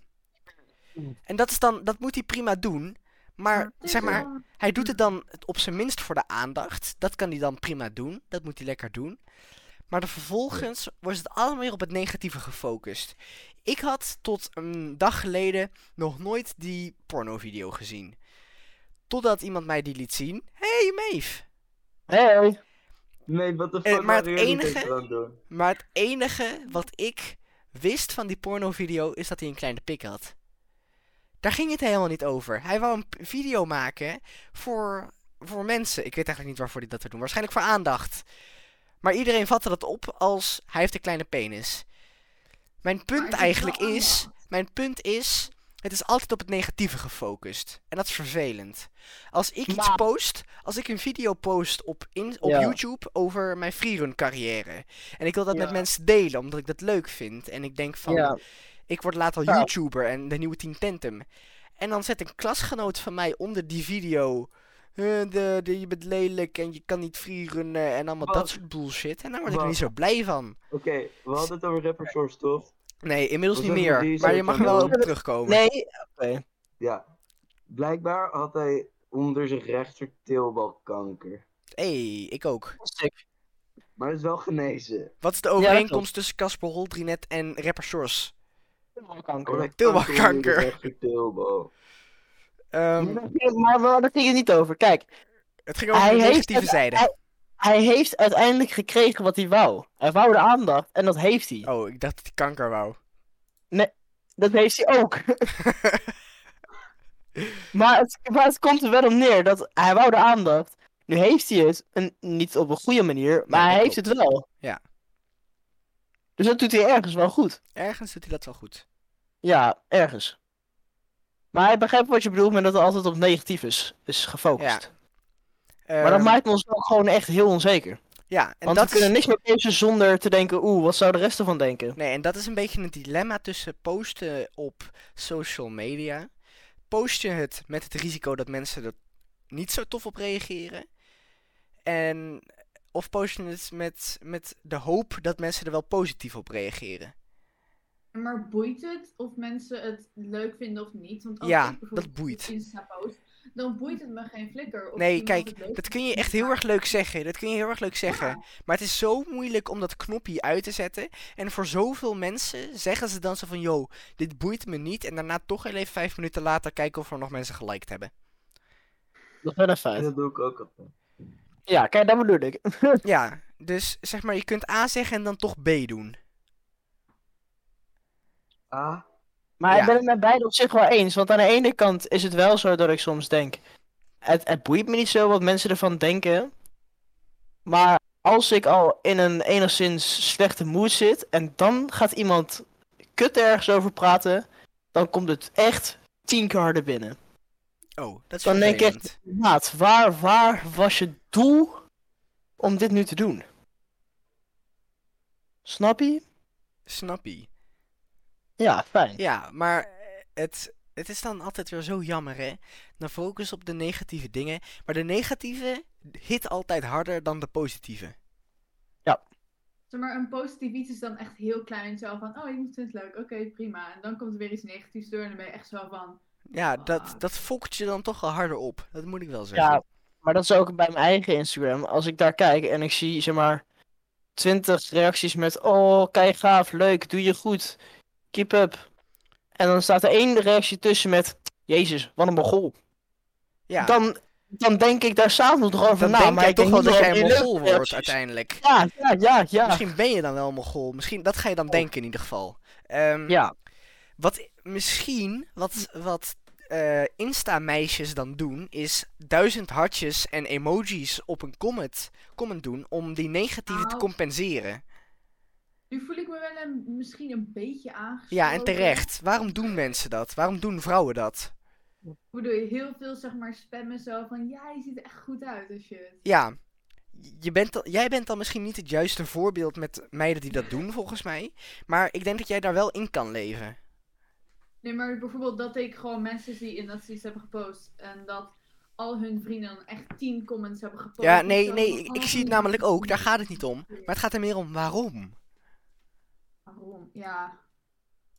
S3: Mm.
S2: En dat is dan, dat moet hij prima doen. Maar
S4: het is
S2: zeg maar,
S4: wel-
S2: hij doet het dan het op zijn minst voor de aandacht. Dat kan hij dan prima doen. Dat moet hij lekker doen. Maar dan vervolgens wordt het allemaal weer op het negatieve gefocust. Ik had tot een dag geleden nog nooit die pornovideo gezien. Totdat iemand mij die liet zien. Hé, hey, Meef!
S3: Hey.
S1: Nee, wat de
S2: Eh,
S1: fuck
S2: maar het
S1: waren jullie
S2: enige-
S1: dit aan het doen?
S2: Maar het enige wat ik wist van die pornovideo is dat hij een kleine pik had. Daar ging het helemaal niet over. Hij wou een p- video maken voor, voor mensen. Ik weet eigenlijk niet waarvoor hij dat zou doen. Waarschijnlijk voor aandacht. Maar iedereen vatte dat op als hij heeft een kleine penis. Mijn
S4: Maar
S2: punt
S4: het is
S2: eigenlijk
S4: wel
S2: is...
S4: aandacht.
S2: Mijn punt is... Het is altijd op het negatieve gefocust. En dat is vervelend. Als ik iets
S3: Maar-
S2: post... Als ik een video post op, in, op
S3: Ja.
S2: YouTube over mijn freerun carrière... En ik wil dat met
S3: Ja.
S2: mensen delen, omdat ik dat leuk vind. En ik denk van,
S3: Ja. Nou.
S2: ik word later
S3: Ja.
S2: YouTuber en de nieuwe Team Tentum. En dan zet een klasgenoot van mij onder die video... eh, de, de, je bent lelijk en je kan niet freerunnen en allemaal dat
S1: Wat?
S2: soort bullshit. En daar word ik
S1: Wat?
S2: niet zo blij van.
S1: Oké, we hadden het over rapper Shores, toch?
S2: Nee, inmiddels
S1: Dat
S2: niet
S1: is een
S2: meer.
S1: decent
S2: Maar je mag er wel op
S1: kanaal.
S2: terugkomen.
S3: Nee. Oké.
S1: Ja. Blijkbaar had hij onder zijn rechter teelbalkanker.
S2: hey, ik ook.
S3: Sick.
S1: Maar hij is wel genezen.
S2: Wat is de
S3: dat
S2: overeenkomst
S3: klopt.
S2: tussen Casper Holdrinet en rapper Shores?
S3: Kanker.
S1: Hij had
S2: Teelbalkanker.
S1: kanker onder de rechter teelbal.
S2: Ehm,
S3: Maar we- daar ging het niet over. Kijk,
S2: het ging over
S3: Hij
S2: de
S3: heeft
S2: negatieve
S3: het-
S2: zijde.
S3: hij- hij heeft uiteindelijk gekregen wat hij wou. Hij wou de aandacht en dat heeft hij.
S2: Oh, ik dacht dat hij kanker wou. (laughs)
S3: Dat heeft hij ook. maar, het, maar het komt er wel om neer dat hij wou de aandacht. Nu heeft hij het, en niet op een goede manier, maar
S2: Nee,
S3: hij
S2: dat
S3: heeft het wel.
S2: Ja.
S3: Dus dat doet hij ergens wel goed.
S2: Ergens doet hij dat wel goed.
S3: Ja, ergens. Maar ik begrijp wat je bedoelt met dat het altijd op negatief is, is gefocust. maar dat
S2: Ehm,
S3: maakt ons ook gewoon echt heel onzeker.
S2: Ja, en
S3: Want
S2: dat
S3: we kunnen
S2: is...
S3: niks meer kiezen zonder te denken, oeh, wat zou de rest ervan denken?
S2: Nee, en dat is een beetje een dilemma tussen posten op social media. Post je het met het risico dat mensen er niet zo tof op reageren. En of post je het met, met de hoop dat mensen er wel positief op reageren.
S4: Maar boeit het of mensen het leuk vinden of niet? Want als
S2: Ja,
S4: ik bijvoorbeeld
S2: dat boeit.
S4: iets op Insta post, dan boeit het me geen flikker. Of
S2: Nee,
S4: iemand
S2: kijk,
S4: het leuk
S2: Dat
S4: vindt
S2: kun je
S4: of
S2: echt
S4: niet.
S2: heel erg leuk zeggen. Dat kun je heel erg leuk zeggen. Maar het is zo moeilijk om dat knopje uit te zetten. En voor zoveel mensen zeggen ze dan zo van... Yo, dit boeit me niet. En daarna toch heel even vijf minuten later kijken of er nog mensen geliked
S4: (laughs)
S2: hebben.
S3: Dat is wel een
S1: En
S3: feit.
S1: dat doe ik ook altijd.
S3: Ja, kijk, dat bedoel ik.
S2: Ja, dus zeg maar, je kunt A zeggen en dan toch B doen.
S1: Ah,
S3: Maar
S2: Ja.
S3: ik ben het met beide op zich wel eens. Want aan de ene kant is het wel zo dat ik soms denk... Het, het boeit me niet zo wat mensen ervan denken. Maar als ik al in een enigszins slechte mood zit... en dan gaat iemand kut ergens over praten... dan komt het echt tien keer harder binnen.
S2: Oh, dat is
S3: Dan denk ik echt-
S2: vervelend.
S3: Maat, waar, waar was je doel om dit nu te doen? Snap je?
S2: Snappie.
S3: Ja, fijn.
S2: Ja, maar eh, het, het is dan altijd weer zo jammer, hè? Dan focus op de negatieve dingen. Maar de negatieve hit altijd harder dan de positieve.
S4: Zeg maar een positief iets is dan echt heel klein. Zo van, oh, je vindt het leuk. Oké, prima. En dan komt er weer iets negatiefs door en dan ben je echt zo van...
S2: Ja, dat,
S4: Ah.
S2: dat fokt je dan toch al harder op. Dat moet ik wel zeggen.
S3: Ja, Maar dat is ook bij mijn eigen Instagram. Als ik daar kijk en ik zie, zeg maar, 20 reacties met: Oh, kijk gaaf, leuk, doe je goed. Keep up. En dan staat er één reactie tussen met: Jezus, wat een mogol.
S2: Ja,
S3: Dan, dan denk ik daar s'avonds nog over
S2: dan
S3: na.
S2: denk
S3: nou, maar
S2: jij
S3: ik
S2: toch
S3: denk
S2: wel dat
S3: niet
S2: jij
S3: over
S2: een
S3: die
S2: mogol wordt
S3: reacties.
S2: uiteindelijk.
S3: Ja, ja, ja, ja. Oh.
S2: Misschien ben je dan wel een mogol. Misschien, dat ga je dan denken in ieder geval. Ehm,
S3: Ja,
S2: Wat misschien, wat, wat eh, Insta-meisjes dan doen, is duizend hartjes en emojis op een comment, comment doen om die negatieve te
S4: Nou.
S2: compenseren.
S4: Nu voel ik me wel een, misschien een beetje aangesproken.
S2: Ja, en terecht. Waarom doen mensen dat? Waarom doen vrouwen dat?
S4: Ik bedoel, heel veel zeg maar spammen zo van, ja, je ziet er echt goed uit als je het...
S2: Ja, je bent dan, jij bent dan misschien niet het juiste voorbeeld met meiden die dat doen, volgens mij. Maar ik denk dat jij daar wel in kan leven.
S4: Nee, maar bijvoorbeeld dat ik gewoon mensen zie en dat ze iets hebben gepost. En dat al hun vrienden dan echt tien comments hebben gepost.
S2: Ja,
S4: en
S2: nee,
S4: zo
S2: nee,
S4: van,
S2: ik, ik
S4: oh,
S2: zie het namelijk ook. Daar gaat het niet om. Maar het gaat er meer om waarom.
S4: Waarom? Ja,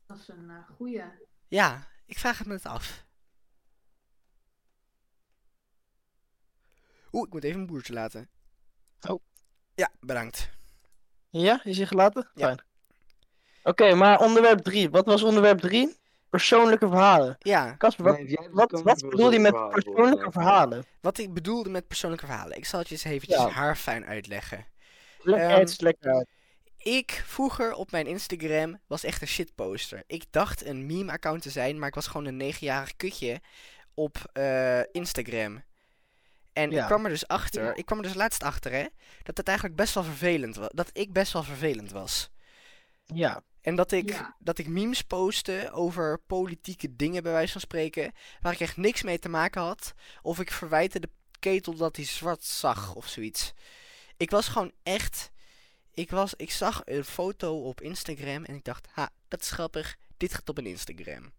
S4: dat is een eh, goeie.
S2: Ja, ik vraag het me het af. Oeh, ik moet even een boertje laten.
S3: Oh.
S2: Ja, bedankt.
S3: ja is hij gelaten?
S2: Ja.
S3: Fijn. Oké, maar onderwerp 3. Wat was onderwerp 3? Persoonlijke verhalen.
S2: Ja,
S3: Casper, wat,
S1: Nee, jij hebt
S3: wat,
S1: het
S3: wat
S1: kan
S3: bedoel je met
S1: verhalen,
S3: persoonlijke
S1: volgens
S3: verhalen?
S2: wat ik bedoelde met persoonlijke verhalen. Ik zal het je eens eventjes
S3: Ja.
S2: haarfijn uitleggen.
S3: Lekker
S2: Ehm,
S3: uit, is lekker uit.
S2: Ik vroeger op mijn Instagram was echt een shitposter. Ik dacht een meme-account te zijn, maar ik was gewoon een negenjarig kutje op eh, Instagram. En ik
S3: Ja.
S2: kwam er dus achter, ik kwam er dus laatst achter, hè, dat het eigenlijk best wel vervelend was. Dat ik best wel vervelend was.
S3: Ja,
S2: En dat ik,
S4: Ja.
S2: dat ik memes postte over politieke dingen, bij wijze van spreken, waar ik echt niks mee te maken had. Of ik verwijtte de ketel dat hij zwart zag of zoiets. Ik was gewoon echt. Ik, was, ik zag een foto op Instagram en ik dacht, ha, dat is grappig. Dit gaat op een Instagram.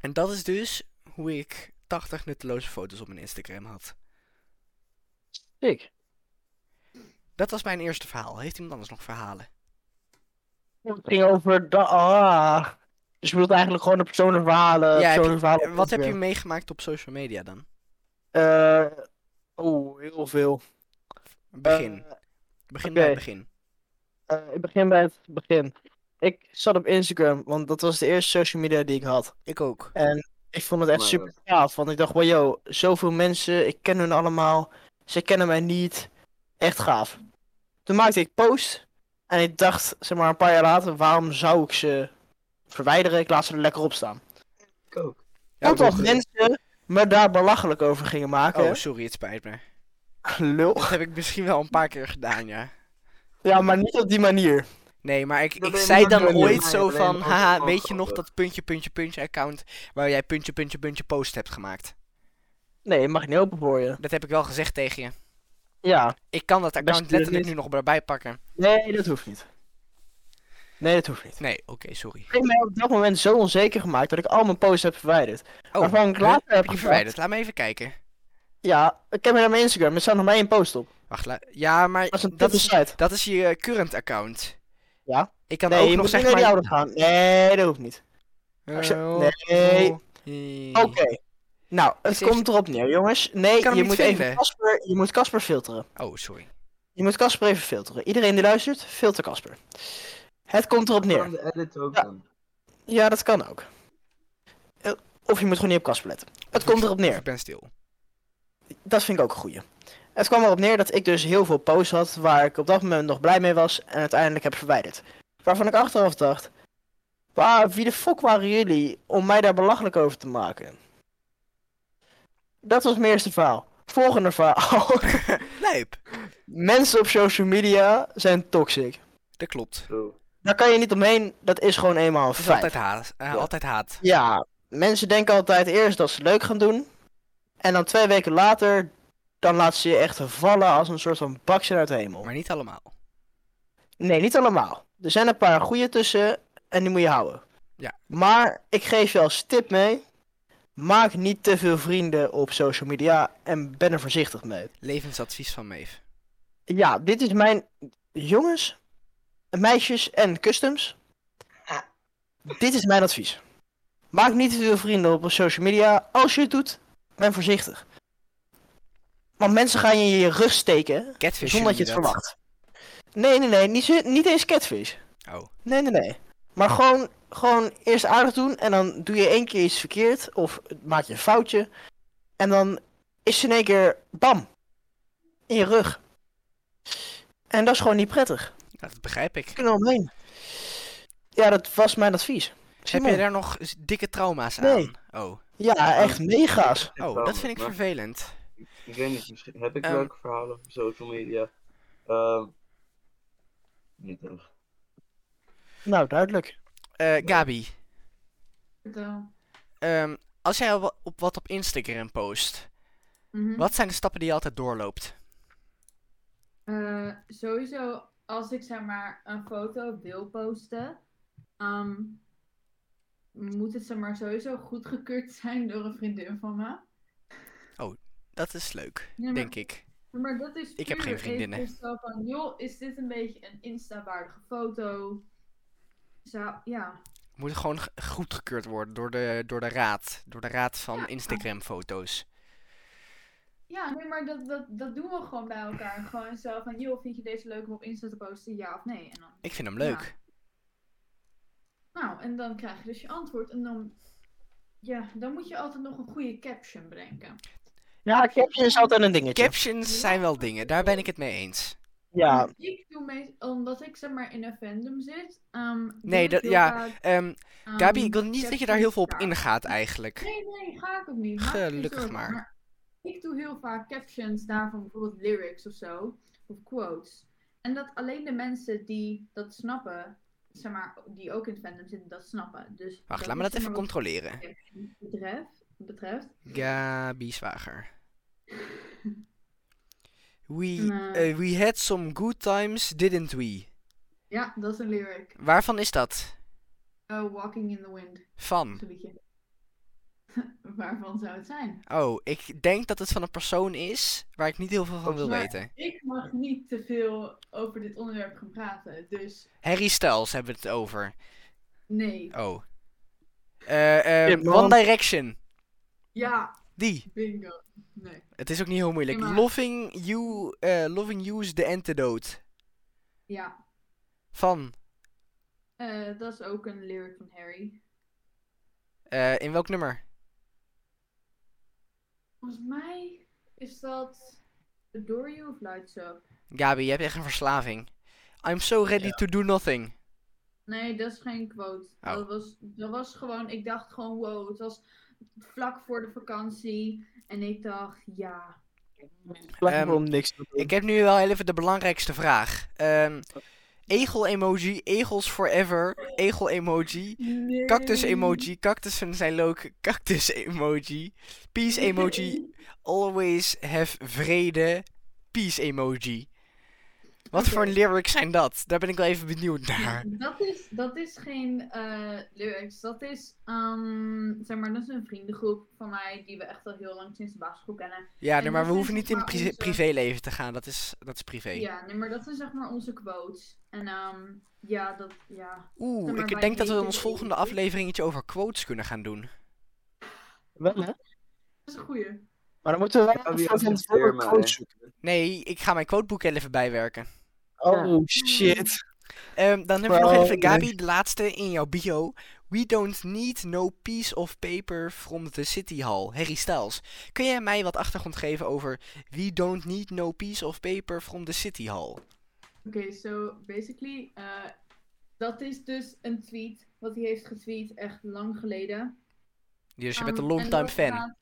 S2: En dat is dus hoe ik 80 nutteloze foto's op mijn Instagram had.
S3: ik.
S2: Dat was mijn eerste verhaal. Heeft iemand anders nog verhalen?
S3: Het ging over... Da ah. Dus je bedoelt eigenlijk gewoon de persoonlijke verhalen.
S2: Ja, heb
S3: persoonlijke verhalen
S2: Eh,
S3: op
S2: Wat heb je
S3: Instagram.
S2: meegemaakt op social media dan?
S3: Eh, Oeh, heel veel.
S2: Begin.
S3: Eh,
S2: begin bij het
S3: oké.
S2: begin.
S3: eh, ik begin bij het begin. Ik zat op Instagram, want dat was de eerste social media die ik had.
S2: Ik ook.
S3: En ik vond het echt
S1: Maar,
S3: super gaaf, want ik dacht, wow, yo, zoveel mensen, ik ken hun allemaal, ze kennen mij niet. Echt gaaf. Toen maakte ik post en ik dacht, zeg maar, een paar jaar later, waarom zou ik ze verwijderen? Ik laat ze er lekker op staan.
S1: Ik ook.
S3: Tot
S1: dat
S3: al
S1: is goed.
S3: mensen me daar belachelijk over gingen maken.
S2: Oh, sorry, het spijt me.
S3: Lul.
S2: Dat heb ik misschien wel een paar keer gedaan, ja.
S3: Ja, maar niet op die manier.
S2: Nee, maar ik,
S1: Dat
S2: ik
S1: ben je
S2: zei
S1: niet
S2: dan
S1: aan het
S2: ooit
S1: doen.
S2: zo
S1: Nee, alleen
S2: van,
S1: ook
S2: haha,
S1: wel
S2: weet je nog
S1: grappig.
S2: dat puntje, puntje, puntje account waar jij puntje, puntje, puntje post hebt gemaakt?
S3: Nee, mag niet open voor je.
S2: Dat heb ik wel gezegd tegen je.
S3: Ja.
S2: Ik kan dat account
S3: Beste
S2: letterlijk nu
S3: niet.
S2: nog erbij pakken.
S3: Nee, dat hoeft niet. Nee, dat hoeft niet.
S2: Nee, oké, sorry.
S3: Ik heb mij op dat moment zo onzeker gemaakt dat ik al mijn posts heb verwijderd.
S2: Oh,
S3: Waarvan ik
S2: huh?
S3: later heb
S2: heb je
S3: gedacht-
S2: verwijderd? Laat me even kijken.
S3: Ja, ik heb mij naar mijn Instagram, er staat nog maar één post op.
S2: Wacht, la- ja, maar
S3: Dat is een
S2: dat
S3: dat
S2: is,
S3: site.
S2: dat is je eh, current account.
S3: Ja.
S2: Ik kan
S3: Nee,
S2: ook
S3: je
S2: nog
S3: moet
S2: zeg
S3: niet naar die
S2: maar... Eh,
S3: oude gaan. Nee, dat hoeft niet. Als je-
S2: oh,
S3: Nee.
S2: nee.
S3: Oké. Nou, het
S2: Is even-
S3: komt erop neer, jongens. Nee,
S2: Ik kan hem
S3: je
S2: niet
S3: moet even
S2: vinden.
S3: Casper, je moet Casper filteren.
S2: Oh, sorry.
S3: Je moet Casper even filteren. Iedereen die luistert, filter Casper. Het komt erop
S1: Ik
S3: neer.
S1: kan de edit ook
S3: Ja.
S1: dan.
S3: Ja, dat kan ook. Eh, Of je moet gewoon niet op Casper letten. Het komt erop neer.
S2: Ik ben stil.
S3: Dat vind ik ook een goeie. Het kwam erop neer dat ik dus heel veel posts had waar ik op dat moment nog blij mee was en uiteindelijk heb verwijderd. Waarvan ik achteraf dacht, waar, wie de fuck waren jullie om mij daar belachelijk over te maken? Dat was mijn eerste verhaal. Volgende verhaal. (laughs)
S2: Lijp.
S3: Mensen op social media zijn toxic.
S2: Dat klopt.
S1: Zo.
S3: Daar kan je niet omheen, dat is gewoon eenmaal een
S2: Het is
S3: feit.
S2: altijd haat. eh,
S1: Ja.
S2: Altijd haat.
S3: Ja, mensen denken altijd eerst dat ze leuk gaan doen. En dan twee weken later, dan laten ze je echt vallen als een soort van baksel uit de hemel.
S2: Maar niet allemaal.
S3: Nee, niet allemaal. Er zijn een paar goede tussen en die moet je houden.
S2: Ja.
S3: Maar ik geef je als tip mee. Maak niet te veel vrienden op social media en ben er voorzichtig mee.
S2: Levensadvies van Meef.
S3: Ja, dit is mijn jongens, meisjes en customs. Dit is mijn advies. Maak niet te veel vrienden op social media. Als je het doet, ben voorzichtig. Want mensen gaan je in je rug steken
S2: Catfish
S3: zonder dat je het
S2: noem
S3: verwacht. Nee, nee, nee. Niet, zo- niet eens catfish.
S2: dat? Oh,
S3: Nee, nee, nee. Maar gewoon, gewoon eerst aardig doen en dan doe je één keer iets verkeerd of maak je een foutje. En dan is het in één keer bam. In je rug. En dat is gewoon niet prettig.
S2: nou, dat begrijp
S3: Je
S2: ik.
S3: kunt er omheen. Ja, dat was mijn advies.
S2: Heb
S3: Simon.
S2: je daar nog z- dikke trauma's aan?
S3: Nee.
S2: Oh,
S3: Ja, echt mega's.
S1: Ik
S2: oh
S1: wel,
S2: dat vind ik
S1: maar
S2: vervelend.
S1: Ik weet niet, misschien heb ik
S2: Ehm.
S1: leuke verhalen op social media. Ehm, niet
S3: (laughs)
S1: echt.
S3: Nou, duidelijk.
S2: Eh, Gabi,
S4: Vertel.
S2: ehm, als jij op, op wat op Instagram post,
S4: Mhm.
S3: Hm.
S2: wat zijn de stappen die je altijd doorloopt?
S4: Eh, sowieso, als ik zeg maar een foto wil posten, ehm, moet het zeg maar sowieso goedgekeurd (laughs) zijn door een vriendin van me.
S2: Dat is leuk,
S3: Hm.
S4: Ja, maar-
S2: denk ik.
S4: Maar dat is
S2: Ik heb
S4: puur
S2: geen vriendinnen.
S4: even zo van, joh, is dit een beetje een Insta-waardige foto? Zou, ja.
S2: Moet gewoon g- goedgekeurd worden door de, door de raad. Door de raad van
S4: Ja.
S2: Instagram-foto's.
S4: Ja, nee, maar dat, dat, dat doen we gewoon bij
S2: (laughs)
S4: elkaar. Gewoon zo van, joh, vind je deze leuk om op Insta te posten? Ja of nee? En dan,
S2: Ik vind hem
S4: Ja.
S2: leuk.
S4: nou, en dan krijg je dus je antwoord. En dan, ja, dan moet je altijd nog een goede caption brengen.
S3: Ja, caption is altijd een dingetje.
S2: Captions zijn wel dingen, daar ben ik het mee eens.
S3: Ja,
S2: Ehm,
S4: Want Ik doe meest, omdat ik zeg maar in een fandom zit. ehm, doe
S2: Nee,
S4: ik
S2: dat-
S4: heel
S2: ja,
S4: vaak,
S2: Ehm
S4: ehm,
S2: Gabi, ik wil niet dat je daar heel veel op
S4: captions.
S2: ingaat eigenlijk.
S4: Nee, nee, ga ik ook niet. Maak je geen
S2: Gelukkig
S4: zorgen.
S2: maar.
S4: Ik doe heel vaak captions daarvan, bijvoorbeeld lyrics of zo, of quotes. En dat alleen de mensen die dat snappen, zeg maar, die ook in het fandom zitten, dat snappen. Dus
S2: Wacht, laat me dat
S4: is,
S2: even
S4: zeg maar, wat
S2: controleren.
S4: captions betreft, betreft.
S2: Gabi Zwager. We,
S4: Nee.
S2: eh, we had some good times, didn't we?
S4: Ja, dat is een lyric.
S2: Waarvan is dat?
S4: Oh, walking in the wind,
S2: Van?
S4: zo'n beetje. (laughs) Waarvan zou het zijn?
S2: Oh, ik denk dat het van een persoon is waar ik niet heel veel van wil
S4: Maar-
S2: weten.
S4: Ik mag niet te veel over dit onderwerp gaan praten, dus
S2: Harry Styles hebben we het over.
S4: nee.
S2: Oh. Eh, eh,
S3: Tim, man.
S2: One Direction.
S4: Ja,
S2: Die.
S4: bingo. Nee.
S2: Het is ook niet heel moeilijk.
S4: Ja, maar-
S2: Loving you, eh, loving you is the antidote.
S4: Ja,
S2: Van.
S4: Eh, dat is ook een lyric van Harry.
S2: eh, in welk nummer?
S4: Volgens mij is dat Adore You of Lights Up.
S2: Gabi, je hebt echt een verslaving. I'm so ready to do nothing.
S4: Nee, dat is geen quote.
S2: Oh.
S4: Dat, was, dat was gewoon, ik dacht gewoon wow, het was vlak voor de vakantie. En ik dacht, ja.
S3: blijkbaar
S2: Ehm,
S3: om niks te doen.
S2: Ik heb nu wel heel even de belangrijkste vraag. Ehm, egel emoji, egels forever, egel emoji,
S4: Nee.
S2: cactus emoji, cactussen zijn leuk, cactus emoji, peace emoji,
S4: (laughs)
S2: always have vrede, peace emoji. Wat
S4: Oké.
S2: voor lyrics zijn dat? Daar ben ik wel even benieuwd naar.
S4: Dat is, dat is geen eh, lyrics. Dat is, ehm, zeg maar, dat is een vriendengroep van mij die we echt al heel lang sinds de basisschool kennen.
S2: Ja,
S4: En
S2: nee,
S4: dat
S2: maar we
S4: zijn
S2: hoeven
S4: zeg
S2: niet in
S4: maar
S2: pri-
S4: onze-
S2: privéleven te gaan, dat is, dat is privé.
S4: Ja, nee, maar dat zijn zeg maar onze quotes. En ehm, ja, dat, ja.
S2: Oeh,
S4: maar
S2: ik
S4: wij
S2: denk dat we in
S4: weten
S2: ons
S4: het
S2: volgende
S4: niet.
S2: aflevering iets over quotes kunnen gaan doen.
S3: Wel, hè?
S4: Dat is een goeie.
S3: Maar dan moeten we
S1: Ja,
S3: wel
S1: wie
S3: even van
S1: adviseert
S3: tevoren
S2: eh,
S1: mij?
S3: quotes zoeken.
S2: Nee, ik ga mijn quoteboek er even bijwerken.
S3: Oh, shit.
S2: Ehm, dan hebben we nog even,
S3: Oh,
S2: Gabi, de laatste in jouw bio. We don't need no piece of paper from the city hall. Harry Styles. Kun jij mij wat achtergrond geven over We don't need no piece of paper from the city hall?
S4: Oké, so basically, eh, dat is dus een tweet wat hij heeft getweet echt lang geleden.
S2: Dus je bent een
S4: Um, en
S2: longtime
S4: dat
S2: fan.
S4: gaat-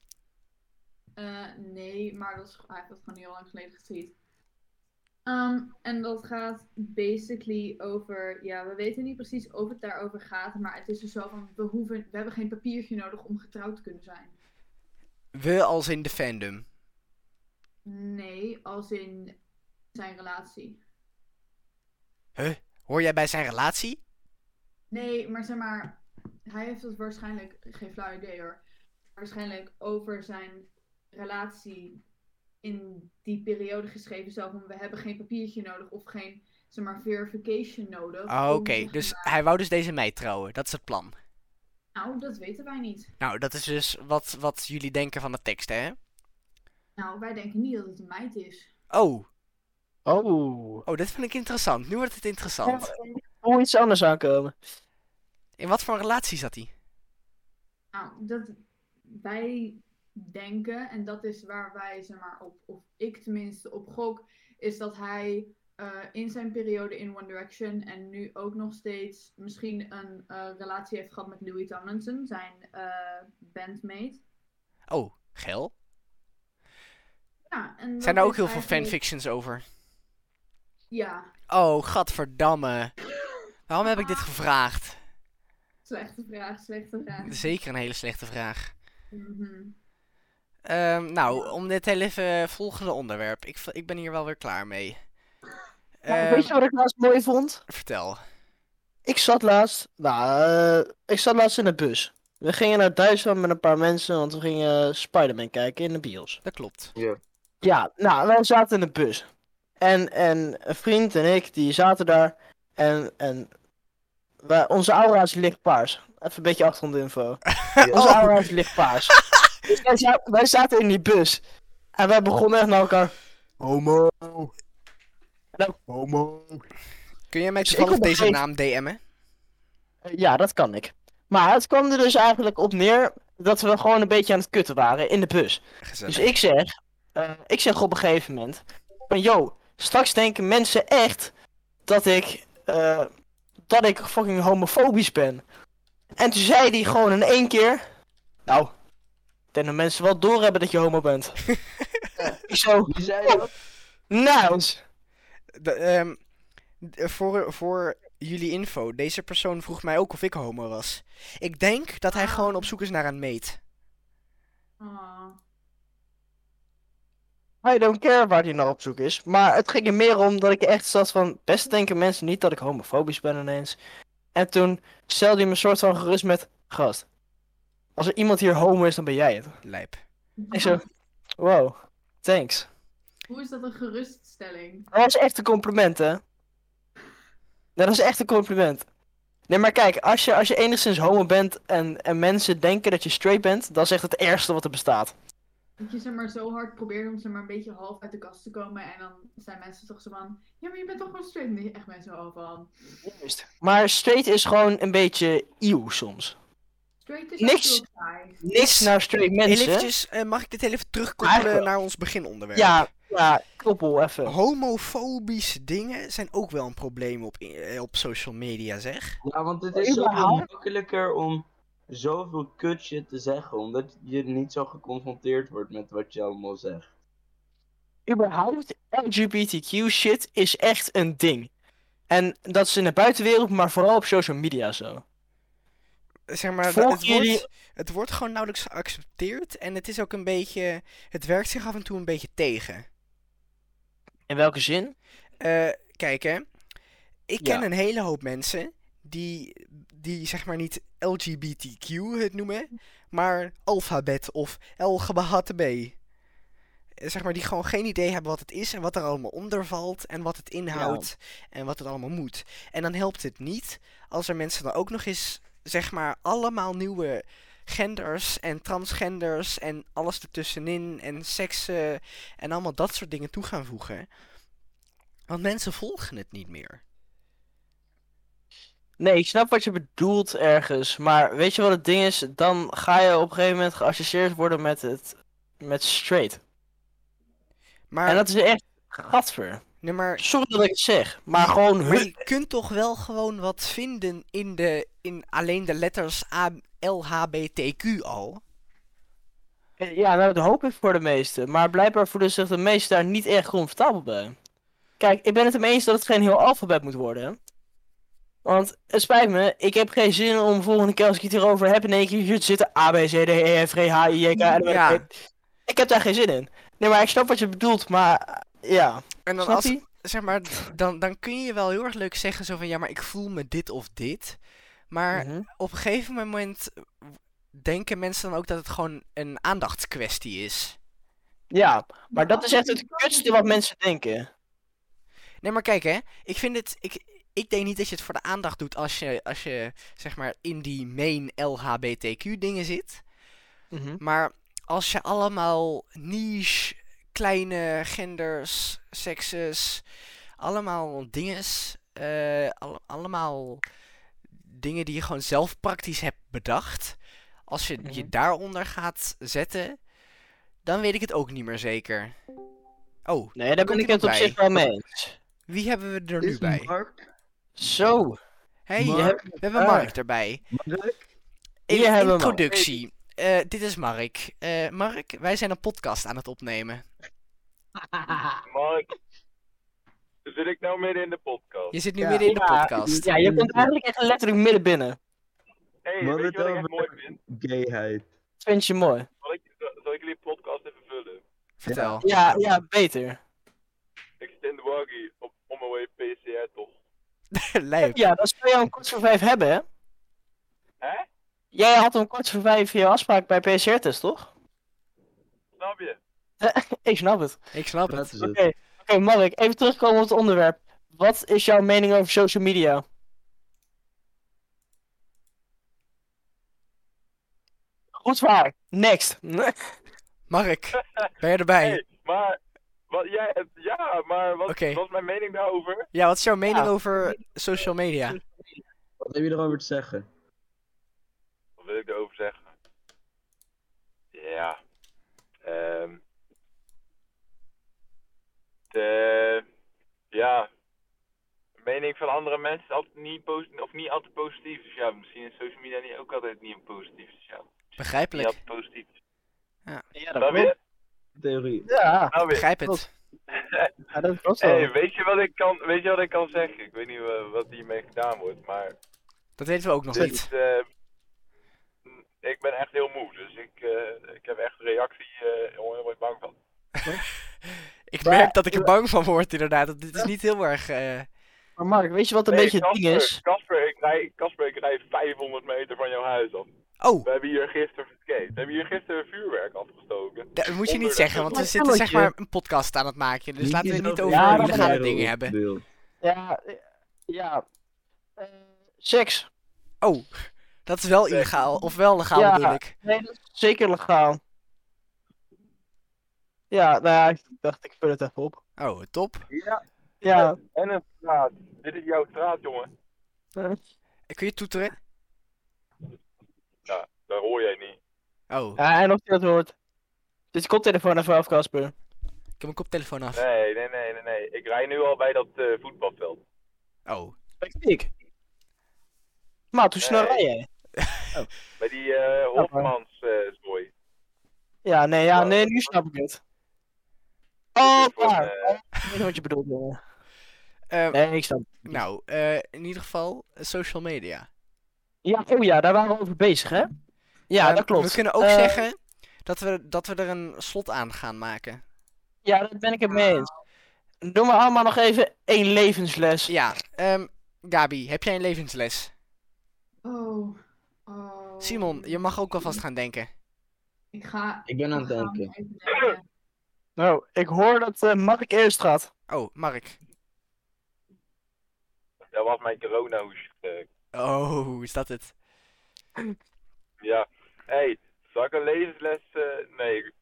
S4: Eh, nee, maar dat is, hij heeft dat gewoon heel lang geleden getweet. Ehm, en dat gaat basically over, ja, we weten niet precies of het daarover gaat, maar het is dus zo van, we, hoeven, we hebben geen papiertje nodig om getrouwd te kunnen zijn.
S2: We als in de fandom.
S4: Nee, als in zijn relatie.
S2: Hoor jij bij zijn relatie?
S4: Nee, maar zeg maar, hij heeft het waarschijnlijk, geen flauw idee hoor, waarschijnlijk over zijn relatie in die periode geschreven. Zo van, we hebben geen papiertje nodig of geen, zeg maar, verification nodig.
S2: Ah,
S4: om,
S2: Oké,
S4: zeg
S2: dus
S4: maar-
S2: hij wou dus deze meid trouwen. Dat is het plan.
S4: Nou, dat weten wij niet.
S2: Nou, dat is dus wat, wat jullie denken van de tekst, hè?
S4: Nou, wij denken niet dat het een meid is.
S2: Oh,
S3: Oh.
S2: oh, dit vind ik interessant. Nu wordt het interessant.
S3: Hoe iets anders aankomen.
S2: In wat voor een relatie zat hij?
S4: Nou, dat wij denken, en dat is waar wij, zeg maar, op, of ik tenminste, op gok, is dat hij eh, in zijn periode in One Direction en nu ook nog steeds misschien een eh, relatie heeft gehad met Louis Tomlinson, zijn eh, bandmate.
S2: Oh, geil.
S4: Ja, en dat
S2: Zijn er ook
S4: is
S2: heel veel
S4: eigenlijk-
S2: fanfictions over?
S4: Ja,
S2: Oh, gadverdamme. Waarom heb ik dit gevraagd?
S4: slechte vraag, slechte vraag.
S2: Zeker een hele slechte vraag.
S4: Mhm.
S2: Ehm, nou, om dit heel even volgende onderwerp. Ik, v- ik ben hier wel weer klaar mee. Ehm,
S3: weet je wat ik laatst mooi vond?
S2: Vertel.
S3: Ik zat laatst, nou, eh, ik zat laatst in de bus. We gingen naar Duitsland met een paar mensen, want we gingen Spider-Man kijken in de bios.
S2: Dat klopt.
S3: Ja, nou, wij zaten in de bus. En, en een vriend en ik, die zaten daar. En, en wij, onze aura's licht paars. Even een beetje achtergrondinfo. Onze
S2: Oh.
S3: aura's licht (laughs) paars. dus wij, za- wij zaten in die bus. En wij begonnen echt naar elkaar. Homo. Nou, homo.
S2: Kun jij mij
S3: Dus ik
S2: toevallig
S3: op een
S2: deze
S3: gegeven-
S2: naam DM'en?
S3: Eh, Ja, dat kan ik. Maar het kwam er dus eigenlijk op neer dat we gewoon een beetje aan het kutten waren in de bus.
S2: Gezellig.
S3: Dus ik zeg, eh, ik zeg op een gegeven moment, van yo, straks denken mensen echt dat ik, eh, dat ik fucking homofobisch ben. En toen zei hij gewoon in één keer, nou, ik denk dat mensen wel doorhebben dat je homo bent. Ik zo, "Nou,
S1: Wie zei dat?
S3: nice.
S2: De- ehm, d- voor, voor jullie info, deze persoon vroeg mij ook of ik homo was. Ik denk dat hij
S4: Ah.
S2: gewoon op zoek is naar een meet.
S4: Ah.
S3: I don't care waar hij naar op zoek is. Maar het ging er meer om dat ik echt zat van... Best denken mensen niet dat ik homofobisch ben ineens. En toen stelde hij me een soort van gerust met... Gast, als er iemand hier homo is, dan ben jij het.
S2: Lijp.
S3: Ik zo, wow, thanks.
S4: Hoe is dat een geruststelling?
S3: Dat was echt een compliment, hè? Dat was echt een compliment. Nee, maar kijk, als je, als je enigszins homo bent en, en mensen denken dat je straight bent... Dan is echt het ergste wat er bestaat.
S4: Dat je zeg maar zo hard probeert om zeg maar een beetje half uit de kast te komen en dan zijn mensen toch zo van, ja maar je bent toch gewoon straight? Nee, echt mensen al van.
S3: Maar straight is gewoon een beetje eeuw soms.
S4: Straight is
S3: Niks.
S4: ook heel saai.
S3: Niks naar straight mensen.
S2: Heel eventjes, eh, mag ik dit heel even terugkoppelen
S3: Eigenlijk-
S2: naar ons beginonderwerp?
S3: Ja, ja, koppel even.
S2: Homofobische dingen zijn ook wel een probleem op, in- eh, op social media, zeg.
S1: Ja, want het is zoveel
S3: Überhaupt?
S1: makkelijker om zoveel kutje te zeggen, omdat je niet zo geconfronteerd wordt met wat je allemaal zegt.
S3: Überhaupt, LGBTQ shit is echt een ding. En dat is in de buitenwereld, maar vooral op social media zo.
S2: Zeg maar,
S3: Volgen
S2: het,
S3: jullie-
S2: wordt, het wordt gewoon nauwelijks geaccepteerd en het is ook een beetje, het werkt zich af en toe een beetje tegen.
S3: In welke zin?
S2: Eh, kijk hè. Ik ken
S3: Ja.
S2: een hele hoop mensen die, die zeg maar niet LGBTQ het noemen, maar alfabet of LGBHTB. Eh, Zeg maar die gewoon geen idee hebben wat het is en wat er allemaal onder valt en wat het inhoudt en wat het allemaal moet. En dan helpt het niet als er mensen dan ook nog eens zeg maar allemaal nieuwe genders en transgenders en alles ertussenin en seksen en allemaal dat soort dingen toe gaan voegen. Want mensen volgen het niet meer.
S3: Nee, ik snap wat je bedoelt ergens. Maar weet je wat het ding is? Dan ga je op een gegeven moment geassocieerd worden met het. Met straight.
S2: Maar,
S3: En dat is echt. Gadver.
S2: nee, maar,
S3: Sorry dat ik het zeg, maar gewoon.
S2: maar je kunt toch wel gewoon wat vinden in, de, in alleen de letters A, L, H, B, T, Q al.
S3: Ja, nou, dat hoop ik voor de meesten. Maar blijkbaar voelen zich de meesten daar niet echt comfortabel bij. Kijk, ik ben het ermee eens dat het geen heel alfabet moet worden. hè. Want het spijt me, ik heb geen zin om volgende keer als ik het hierover heb in één keer hier te zitten. A, B, C, D, E, F, G, H, I, J, K, L, M, N,
S2: Ja.
S3: O, P. Ik heb daar geen zin in. Nee, maar ik snap wat je bedoelt, maar eh, ja.
S2: En dan
S3: Snap
S2: als,
S3: je?
S2: zeg maar, d- dan, dan kun je wel heel erg leuk zeggen zo van, ja, maar ik voel me dit of dit. Maar
S3: Mhm.
S2: op een gegeven moment denken mensen dan ook dat het gewoon een aandachtskwestie is.
S3: Ja, maar dat is echt
S4: als je
S3: het kutste wat mensen denken.
S2: Nee, maar kijk hè. Ik vind het. Ik, ik denk niet dat je het voor de aandacht doet als je, als je zeg maar in die main
S3: Mhm.
S2: LHBTQ dingen zit. Maar als je allemaal niche kleine genders, sekses, allemaal dinges. eh, alle- allemaal dingen die je gewoon zelf praktisch hebt bedacht. Als je je
S3: Mhm.
S2: daaronder gaat zetten, dan weet ik het ook niet meer zeker. Oh,
S3: Nee, daar ben
S2: Komt
S3: ik het op
S2: iemand
S3: zich wel mee eens.
S2: wie hebben we er nu
S1: Is
S2: bij?
S1: Mark?
S3: Zo,
S2: Hey,
S1: Mark.
S3: je hebt...
S2: we hebben
S3: Ah.
S2: Mark erbij.
S1: Mark?
S3: Hier
S2: Even
S3: hebben we Mark.
S2: introductie. Eh, dit is Mark. Eh, Mark, wij zijn een podcast aan het opnemen.
S5: Mark, zit ik nou midden in de podcast?
S2: Je zit nu
S1: Ja.
S2: midden in de
S3: Ja,
S2: podcast.
S3: ja, je komt eigenlijk echt letterlijk midden binnen.
S5: Hey,
S1: Maar
S5: weet je wat ik
S1: vertel
S5: echt
S1: me.
S5: mooi vind?
S1: Gayheid.
S3: Vind je mooi?
S5: Zal ik, zal ik jullie podcast even vullen?
S2: Vertel.
S3: Ja, ja, beter.
S5: Ik zit in de waggie op on my way PCR toch?
S2: Lijp.
S3: Ja, dan zou jij om kwart voor vijf hebben, hè?
S5: Hè?
S3: Jij had om kwart voor vijf je afspraak bij PCR-test, toch? (laughs)
S5: Snap je?
S3: Ik snap het.
S2: Ik snap
S1: Dat
S2: het.
S1: is
S3: Oké,
S1: het.
S3: oké, Mark, even terugkomen op het onderwerp. Wat is jouw mening over social media? Goed waar. Next. (laughs)
S2: Mark, ben je erbij?
S5: Hey, maar wat jij hebt- ja, maar wat
S2: Oké.
S5: wat is mijn mening daarover?
S2: Ja, wat is jouw mening
S3: Ja.
S2: over social media?
S1: Wat heb je erover te zeggen?
S5: Wat wil ik daarover zeggen? Ja. Ehm. de, ja. De mening van andere mensen is altijd niet positief, of niet altijd positief. Dus ja, misschien is social media niet, ook altijd niet positief. Dus ja, niet
S2: Begrijpelijk.
S5: altijd positief.
S3: Ja,
S5: Snap je?
S1: Theorie.
S3: Ja,
S5: Nou weer.
S2: Begrijp het.
S3: ja, dat klopt wel.
S5: Hey, weet je wat ik kan, weet je wat ik kan zeggen? Ik weet niet eh, wat hiermee gedaan wordt, maar
S2: Dat weten we ook nog
S5: dit,
S2: niet.
S5: eh, m, ik ben echt heel moe, dus ik, eh, ik heb echt een reactie, eh jongen, daar word ik bang van.
S2: Ik merk dat ik er bang van word, inderdaad. Dat Dit is niet heel erg. eh,
S3: Maar Mark, weet je wat een
S5: Hey,
S3: beetje het ding is?
S5: Casper, ik rij, Casper, ik rij 500 meter van jouw huis af.
S2: Oh,
S5: We hebben hier gisteren geskate. We hebben hier gisteren vuurwerk afgestoken.
S2: dat moet je
S5: Onder
S2: niet
S5: de-
S2: zeggen, want we
S3: Onder
S2: zitten zeg
S3: het balletje.
S2: maar een podcast aan het maken. Dus laten we het niet
S1: eens
S2: over
S3: Ja, dat
S2: illegale
S3: begrijp
S2: dingen hebben.
S1: Wil.
S3: Ja, eh, ja. Eh, seks.
S2: Oh, dat is wel
S5: Nee.
S2: illegaal. Of wel legaal
S3: Ja.
S2: bedoel ik.
S3: Nee, dat is zeker legaal. Ja, nou ja, ik dacht ik vul het even op.
S2: Oh, top.
S3: Ja.
S5: En een straat. Dit is jouw straat, jongen.
S2: Kun je toeteren?
S5: Daar hoor jij niet.
S2: Oh,
S3: Ja, en of je dat hoort. Dit koptelefoon even af, Casper.
S2: ik heb mijn koptelefoon af.
S5: Nee, nee, nee, nee, nee. Ik rij nu al bij dat eh, voetbalveld.
S2: Oh,
S3: Ik. Maat, hoe snel
S5: Nee.
S3: rij jij?
S5: Bij die eh Hofmans eh zooi.
S3: Ja, nee, ja,
S5: Nou,
S3: nee, nu snap ik het. Oh,
S5: Voor een,
S3: daar.
S5: eh,
S3: Ik weet niet wat je bedoelt, jongen.
S2: Eh,
S3: Nee, ik snap het.
S2: nou, eh, in ieder geval eh, social media.
S3: Ja, oh ja, daar waren we over bezig, hè? Ja,
S2: Ehm,
S3: dat klopt.
S2: We kunnen ook
S3: Eh,
S2: zeggen dat we, dat we er een slot aan gaan maken.
S3: Ja, daar ben ik het mee eens. Doe maar allemaal nog even één levensles.
S2: Ja, ehm, Gabi, heb jij een levensles?
S4: Oh. oh.
S2: Simon, je mag ook alvast gaan denken.
S4: Ik ga.
S1: Ik ben aan het
S4: ik ga
S1: denken.
S4: even denken.
S3: Nou, ik hoor dat eh, Mark eerst gaat.
S2: Oh, Mark.
S5: dat was mijn coronahoes. eh,
S2: Oh, is dat het?
S5: ja. Hé, hey, zal ik een levensles... eh, nee, ik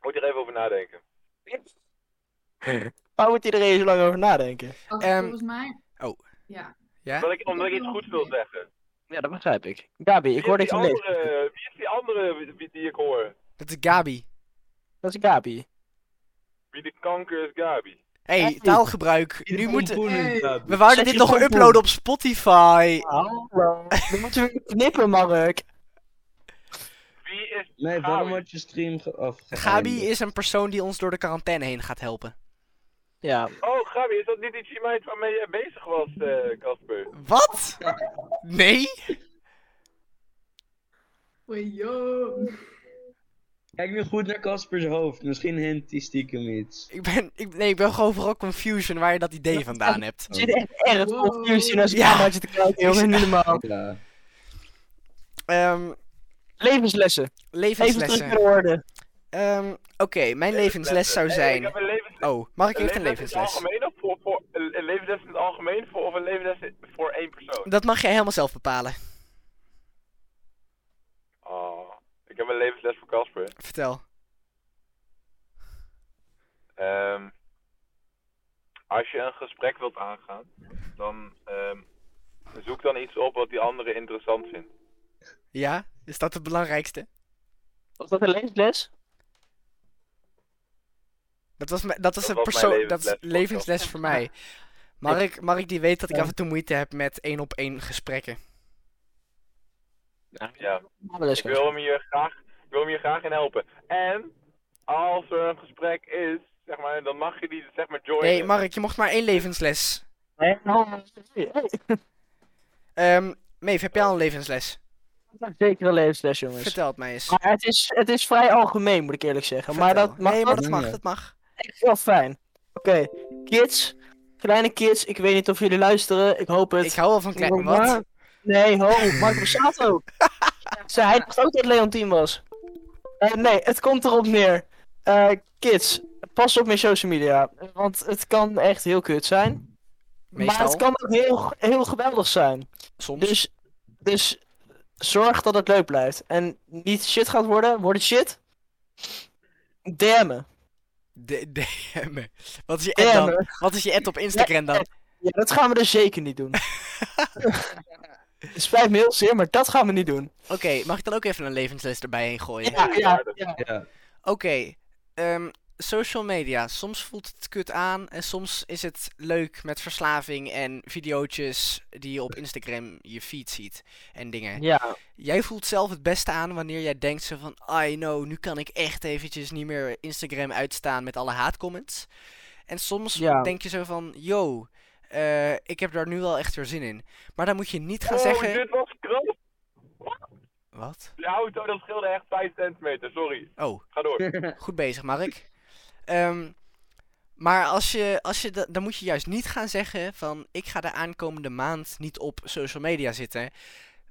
S5: moet hier even over nadenken.
S3: (laughs) Waar moet iedereen zo lang over nadenken?
S4: Wacht,
S2: Ehm,
S4: volgens mij.
S2: oh.
S4: Ja.
S2: Ja?
S5: Omdat ik, omdat ik iets goeds wil zeggen.
S3: Ja, dat begrijp ik. Gabi, ik
S5: Wie
S3: hoor
S5: is
S3: dat je
S5: die
S3: leeft.
S5: andere, Wie is die andere wie- wie- die ik hoor?
S2: Dat is Gabi.
S3: Dat is Gabi.
S5: Wie de kanker is Gabi.
S2: Hé, hey,
S3: Hey.
S2: taalgebruik. Nu moeten...
S4: Hey.
S2: We wouden
S3: Zet
S2: dit
S3: je
S2: nog
S3: telefoon.
S2: uploaden op Spotify.
S3: Hallo. Dan moeten we knippen, Mark.
S5: Wie is...
S1: Nee,
S5: Gabi.
S1: waarom had je stream ge- af?
S2: Gabi is een persoon die ons door de quarantaine heen gaat helpen.
S3: Ja.
S5: Oh, Gabi, is dat niet iets die meid waarmee jij bezig was, eh, Casper?
S2: Wat? Nee?
S4: Oei, yo.
S1: Kijk nu goed naar Caspers hoofd. Misschien hint hij stiekem iets.
S2: Ik ben, ik, nee, ik ben gewoon vooral confusion waar je dat idee vandaan hebt.
S3: Er zit echt erg
S4: Wow.
S3: confused in als
S2: Ja.
S3: cameraatje te kijken, jongen. Niet normaal.
S1: Ja.
S2: Ehm,
S3: (laughs) Levenslessen. Even terug naar
S2: levenslessen.
S3: de orde.
S2: Ehm, Oké, mijn levensles zou
S5: Hey, ik
S2: zijn...
S5: heb een levens...
S2: Oh, Mark heeft een
S5: levensles
S2: levensles.
S5: in het algemeen of voor, voor, een een levensles in het algemeen voor, of een levensles voor één persoon?
S2: Dat mag jij helemaal zelf bepalen.
S5: Ah, Oh, ik heb een levensles voor Casper.
S2: Vertel.
S5: Ehm, als je een gesprek wilt aangaan, dan ehm, zoek dan iets op wat die andere interessant vindt.
S2: Ja? Is dat het belangrijkste?
S3: Was dat een levensles?
S2: Dat was, mijn- dat was
S5: Dat
S2: een
S5: was mijn
S2: persoon. Dat is
S5: levensles,
S2: levensles voor
S5: (laughs)
S2: mij. Mark, Mark die weet dat ik af en toe moeite heb met één op één gesprekken.
S5: Ja.
S3: Mamenles.
S5: Ik wil hem hier graag, ik wil hem hier graag in helpen. En als er een gesprek is, zeg maar, dan mag je die zeg maar joinen.
S2: Nee, Mark, je mocht maar één levensles.
S3: Hey, oh, hey.
S2: Ehm Meef, heb jij al een levensles?
S3: Dat is Zeker een levensles, jongens.
S2: Vertel het mij eens.
S3: Maar het is, het is vrij algemeen, moet ik eerlijk zeggen. Maar
S2: Vertel.
S3: dat mag
S2: nee, maar dat
S3: wel-
S2: mag, dat mag.
S3: wel fijn. Oké, kids. Kleine kids, ik weet niet of jullie luisteren. Ik hoop het.
S2: Ik hou wel van klein...
S3: Maar-
S2: Wat?
S3: Nee, ho,
S2: (laughs)
S3: Marco Borsato. Ze, hij dacht ook dat Leontien was. Eh, nee, het komt erop neer. Eh, kids, pas op met social media. Want het kan echt heel kut zijn. Maar het
S2: Meestal.
S3: kan ook heel, heel geweldig zijn.
S2: Soms.
S3: Dus, dus zorg dat het leuk blijft. En niet shit gaat worden. Wordt het shit? Damn.
S2: D- DM. (laughs) Wat is je ad
S3: Damn.
S2: dan? Wat is je ad op Instagram dan?
S3: Ja, dat gaan we dus zeker niet
S2: (laughs)
S3: doen. Het spijt me heel zeer, maar dat gaan we niet doen.
S2: Oké, mag ik dan ook even een levensles erbij heen gooien?
S3: Ja, ja, ja.
S1: Ja.
S2: Oké, ehm, social media. Soms voelt het kut aan en soms is het leuk met verslaving en videootjes die je op Instagram je feed ziet en dingen.
S3: ja.
S2: Jij voelt zelf het beste aan wanneer jij denkt zo van, I know, nu kan ik echt eventjes niet meer Instagram uitstaan met alle haatcomments. En soms
S3: Ja.
S2: denk je zo van, yo, eh, ik heb daar nu wel echt weer zin in. Maar dan moet je niet gaan
S5: Oh,
S2: zeggen...
S3: dus
S5: dit was knap.
S2: Wat?
S5: De auto, dat scheelde echt 5 centimeter, sorry.
S2: Oh,
S5: Ga door.
S2: goed bezig, Mark. Ehm, maar als je, als je da- dan moet je juist niet gaan zeggen van ik ga de aankomende maand niet op social media zitten.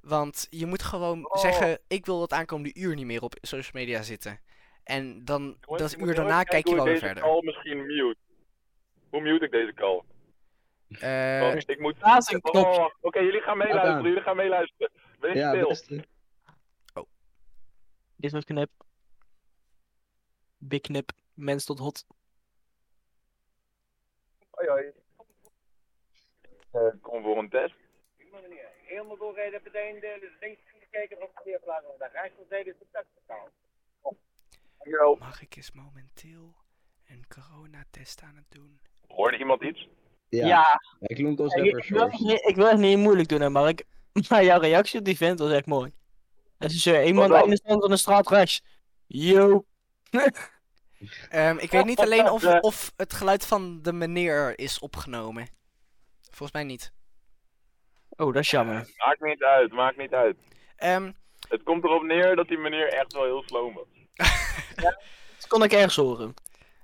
S2: Want je moet gewoon
S5: Oh.
S2: zeggen, ik wil het aankomende uur niet meer op social media zitten. En dan
S5: Jongens,
S2: dat
S5: ik moet
S2: uur
S5: heel
S2: daarna
S5: even
S2: kijk je
S5: kijken
S2: wel
S5: hoe
S2: weer
S5: ik
S2: verder.
S5: Deze call misschien mute. Hoe mute ik deze call?
S2: Eh,
S5: Want ik moet...
S3: Laat een knop.
S5: Oh, Oké, jullie gaan meeluisteren,
S1: Laat aan.
S5: jullie gaan meeluisteren. Wees
S1: (laughs) Ja,
S5: stil.
S1: best.
S3: Dit was knip. Big knip. Mens tot hot.
S5: Hoi, hoi. Eh, kom voor een test.
S6: Helemaal doorrijden meteen de links kijken op de veerplaats en de rechts meteen de taxi
S2: Mark is momenteel een coronatest aan het doen.
S5: Hoorde iemand iets?
S1: Ja. Hij klonk als
S3: ik,
S1: rapper
S3: ik wil
S1: Source.
S3: echt niet, ik wil echt niet moeilijk doen, hè, Mark. (laughs) Maar jouw reactie op die vent was echt mooi. Als je zo iemand
S5: dan?
S3: aan de stand van de straat rechts. Yo.
S2: Ehm, ik weet niet alleen
S5: (laughs)
S2: of, of het geluid van de meneer is opgenomen. Volgens mij niet.
S3: Oh, dat is jammer.
S5: Maakt niet uit, maakt niet uit.
S2: Ehm,
S5: Het komt erop neer dat die meneer echt wel heel sloom was.
S3: Dat kon ik ergens horen.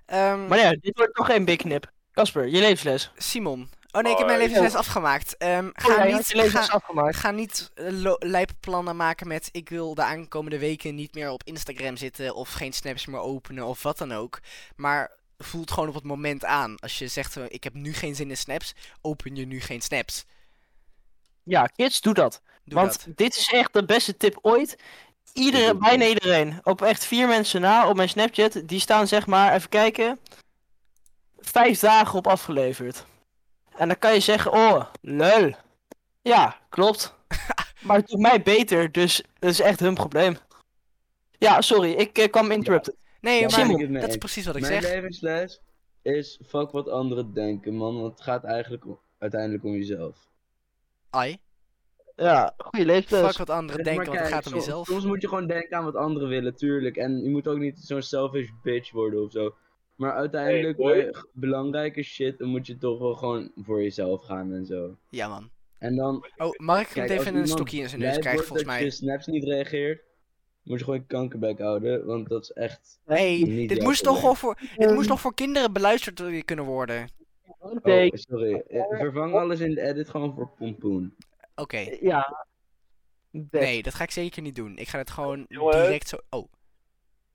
S2: ehm,
S3: Maar ja, dit wordt nog geen big knip. Casper, je levensles.
S2: Simon. Oh nee, ik heb mijn
S5: Hoi.
S2: levensles afgemaakt. Ehm,
S3: Oh,
S2: ga,
S3: ja, je had
S2: niet,
S3: je levensles
S2: ga,
S3: afgemaakt.
S2: ga niet eh, lo- lijpe plannen maken met ik wil de aankomende weken niet meer op Instagram zitten of geen snaps meer openen of wat dan ook. Maar voel het gewoon op het moment aan. Als je zegt eh, ik heb nu geen zin in snaps, open je nu geen snaps.
S3: Ja, kids, doe dat.
S2: Doe
S3: Want
S2: dat.
S3: dit is echt de beste tip ooit.
S1: Ik
S3: Iedere,
S1: doe
S3: bijna iedereen. Op echt vier mensen na op mijn Snapchat. Die staan zeg maar, even kijken. Vijf dagen op afgeleverd. En dan kan je zeggen, oh, lul. Ja, klopt. maar het doet mij beter, dus dat is echt hun probleem. Ja, sorry, ik eh, kwam interrupted.
S2: Nee,
S1: Ja,
S2: maar
S1: ben ik het mee
S2: dat is
S1: eens.
S2: precies wat ik
S1: Mijn
S2: zeg.
S1: levensles is fuck wat anderen denken, man. Want het gaat eigenlijk om- uiteindelijk om jezelf.
S2: Ai,
S3: Ja, goede
S2: fuck
S1: Dus
S3: leeftijd.
S2: wat anderen denken, want het gaat om
S1: soms,
S2: jezelf.
S1: Soms moet je gewoon denken aan wat anderen willen, tuurlijk. En je moet ook niet zo'n selfish bitch worden of zo. Maar uiteindelijk,
S5: Hey, boy.
S1: bij g- belangrijke shit, dan moet je toch wel gewoon voor jezelf gaan en zo.
S2: Ja man.
S1: En dan,
S2: Oh, Mark moet
S1: kijk, als
S2: even een
S1: iemand
S2: stokje in zijn neus
S1: blij
S2: krijgen
S1: wordt
S2: volgens
S1: dat je
S2: mij.
S1: snaps niet reageert, moet je gewoon je kankerbek houden. Want dat is echt... Ehm.
S2: Nee,
S1: niet
S2: dit
S1: jouw
S2: moest toch
S1: probleem.
S2: wel voor, dit moest nog voor kinderen beluisterd kunnen worden.
S1: Oh, sorry. Eh, Vervang alles in de edit gewoon voor pompoen.
S2: Oké.
S3: Ja.
S2: Nee, dat ga ik zeker niet doen. Ik ga het gewoon
S5: Jongens.
S2: direct zo. Oh.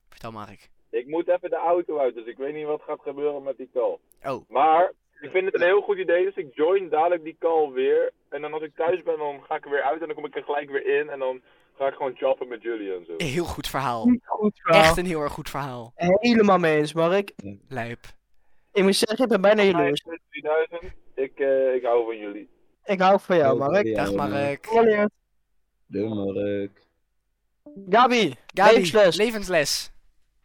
S2: Vertel Mark.
S5: Ik moet even de auto uit, dus ik weet niet wat gaat gebeuren met die call.
S2: Oh.
S5: Maar ik vind het een heel goed idee, dus ik join dadelijk die call weer. En dan als ik thuis ben, dan ga ik er weer uit en dan kom ik er gelijk weer in. En dan ga ik gewoon chappen met jullie en zo.
S2: Een heel goed verhaal.
S3: Niet goed, verhaal.
S2: Echt een heel erg goed verhaal.
S3: Helemaal mee eens, Mark.
S2: Lijp.
S3: Ik moet zeggen, ik ben bijna jaloers.
S5: 3000. Ik, eh, ik hou van jullie.
S3: Ik hou van jou,
S1: Leuk,
S3: Mark.
S1: ja,
S2: Dag Mark.
S3: Allereerst.
S1: Doe Mark.
S3: Gabi,
S2: Gabi,
S3: levensles.
S2: levensles.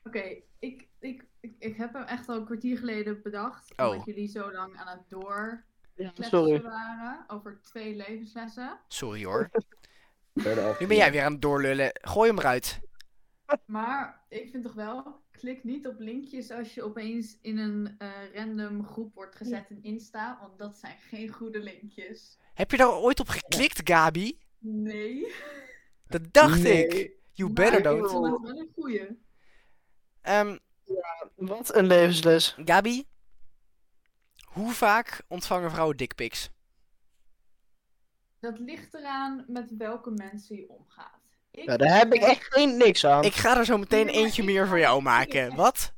S4: Oké, ik, ik, ik, ik heb hem echt al een kwartier geleden bedacht.
S2: Oh.
S4: Omdat jullie zo lang aan het doorkletsen
S3: Ja, sorry.
S4: waren over twee levenslessen.
S2: Sorry hoor.
S1: Verder af.
S2: Nu ben jij weer aan het doorlullen. Gooi hem eruit.
S4: Maar ik vind toch wel, klik niet op linkjes als je opeens in een eh, random groep wordt gezet in Insta. Want dat zijn geen goede linkjes.
S2: Heb je daar ooit op geklikt, Gabi?
S4: Nee.
S2: Dat dacht
S1: Nee.
S2: ik. You
S4: Maar
S2: better
S4: Ik
S2: don't.
S4: vond het wel een goeie.
S2: Ehm,
S3: Wat een levensles.
S2: Gabi, hoe vaak ontvangen vrouwen dickpics?
S4: Dat ligt eraan met welke mensen je omgaat. Ik
S3: Ja, daar heb ik echt geen niks aan.
S2: Ik ga er zo meteen
S4: Nee, maar
S2: eentje
S4: ik-
S2: meer voor jou maken. Wat?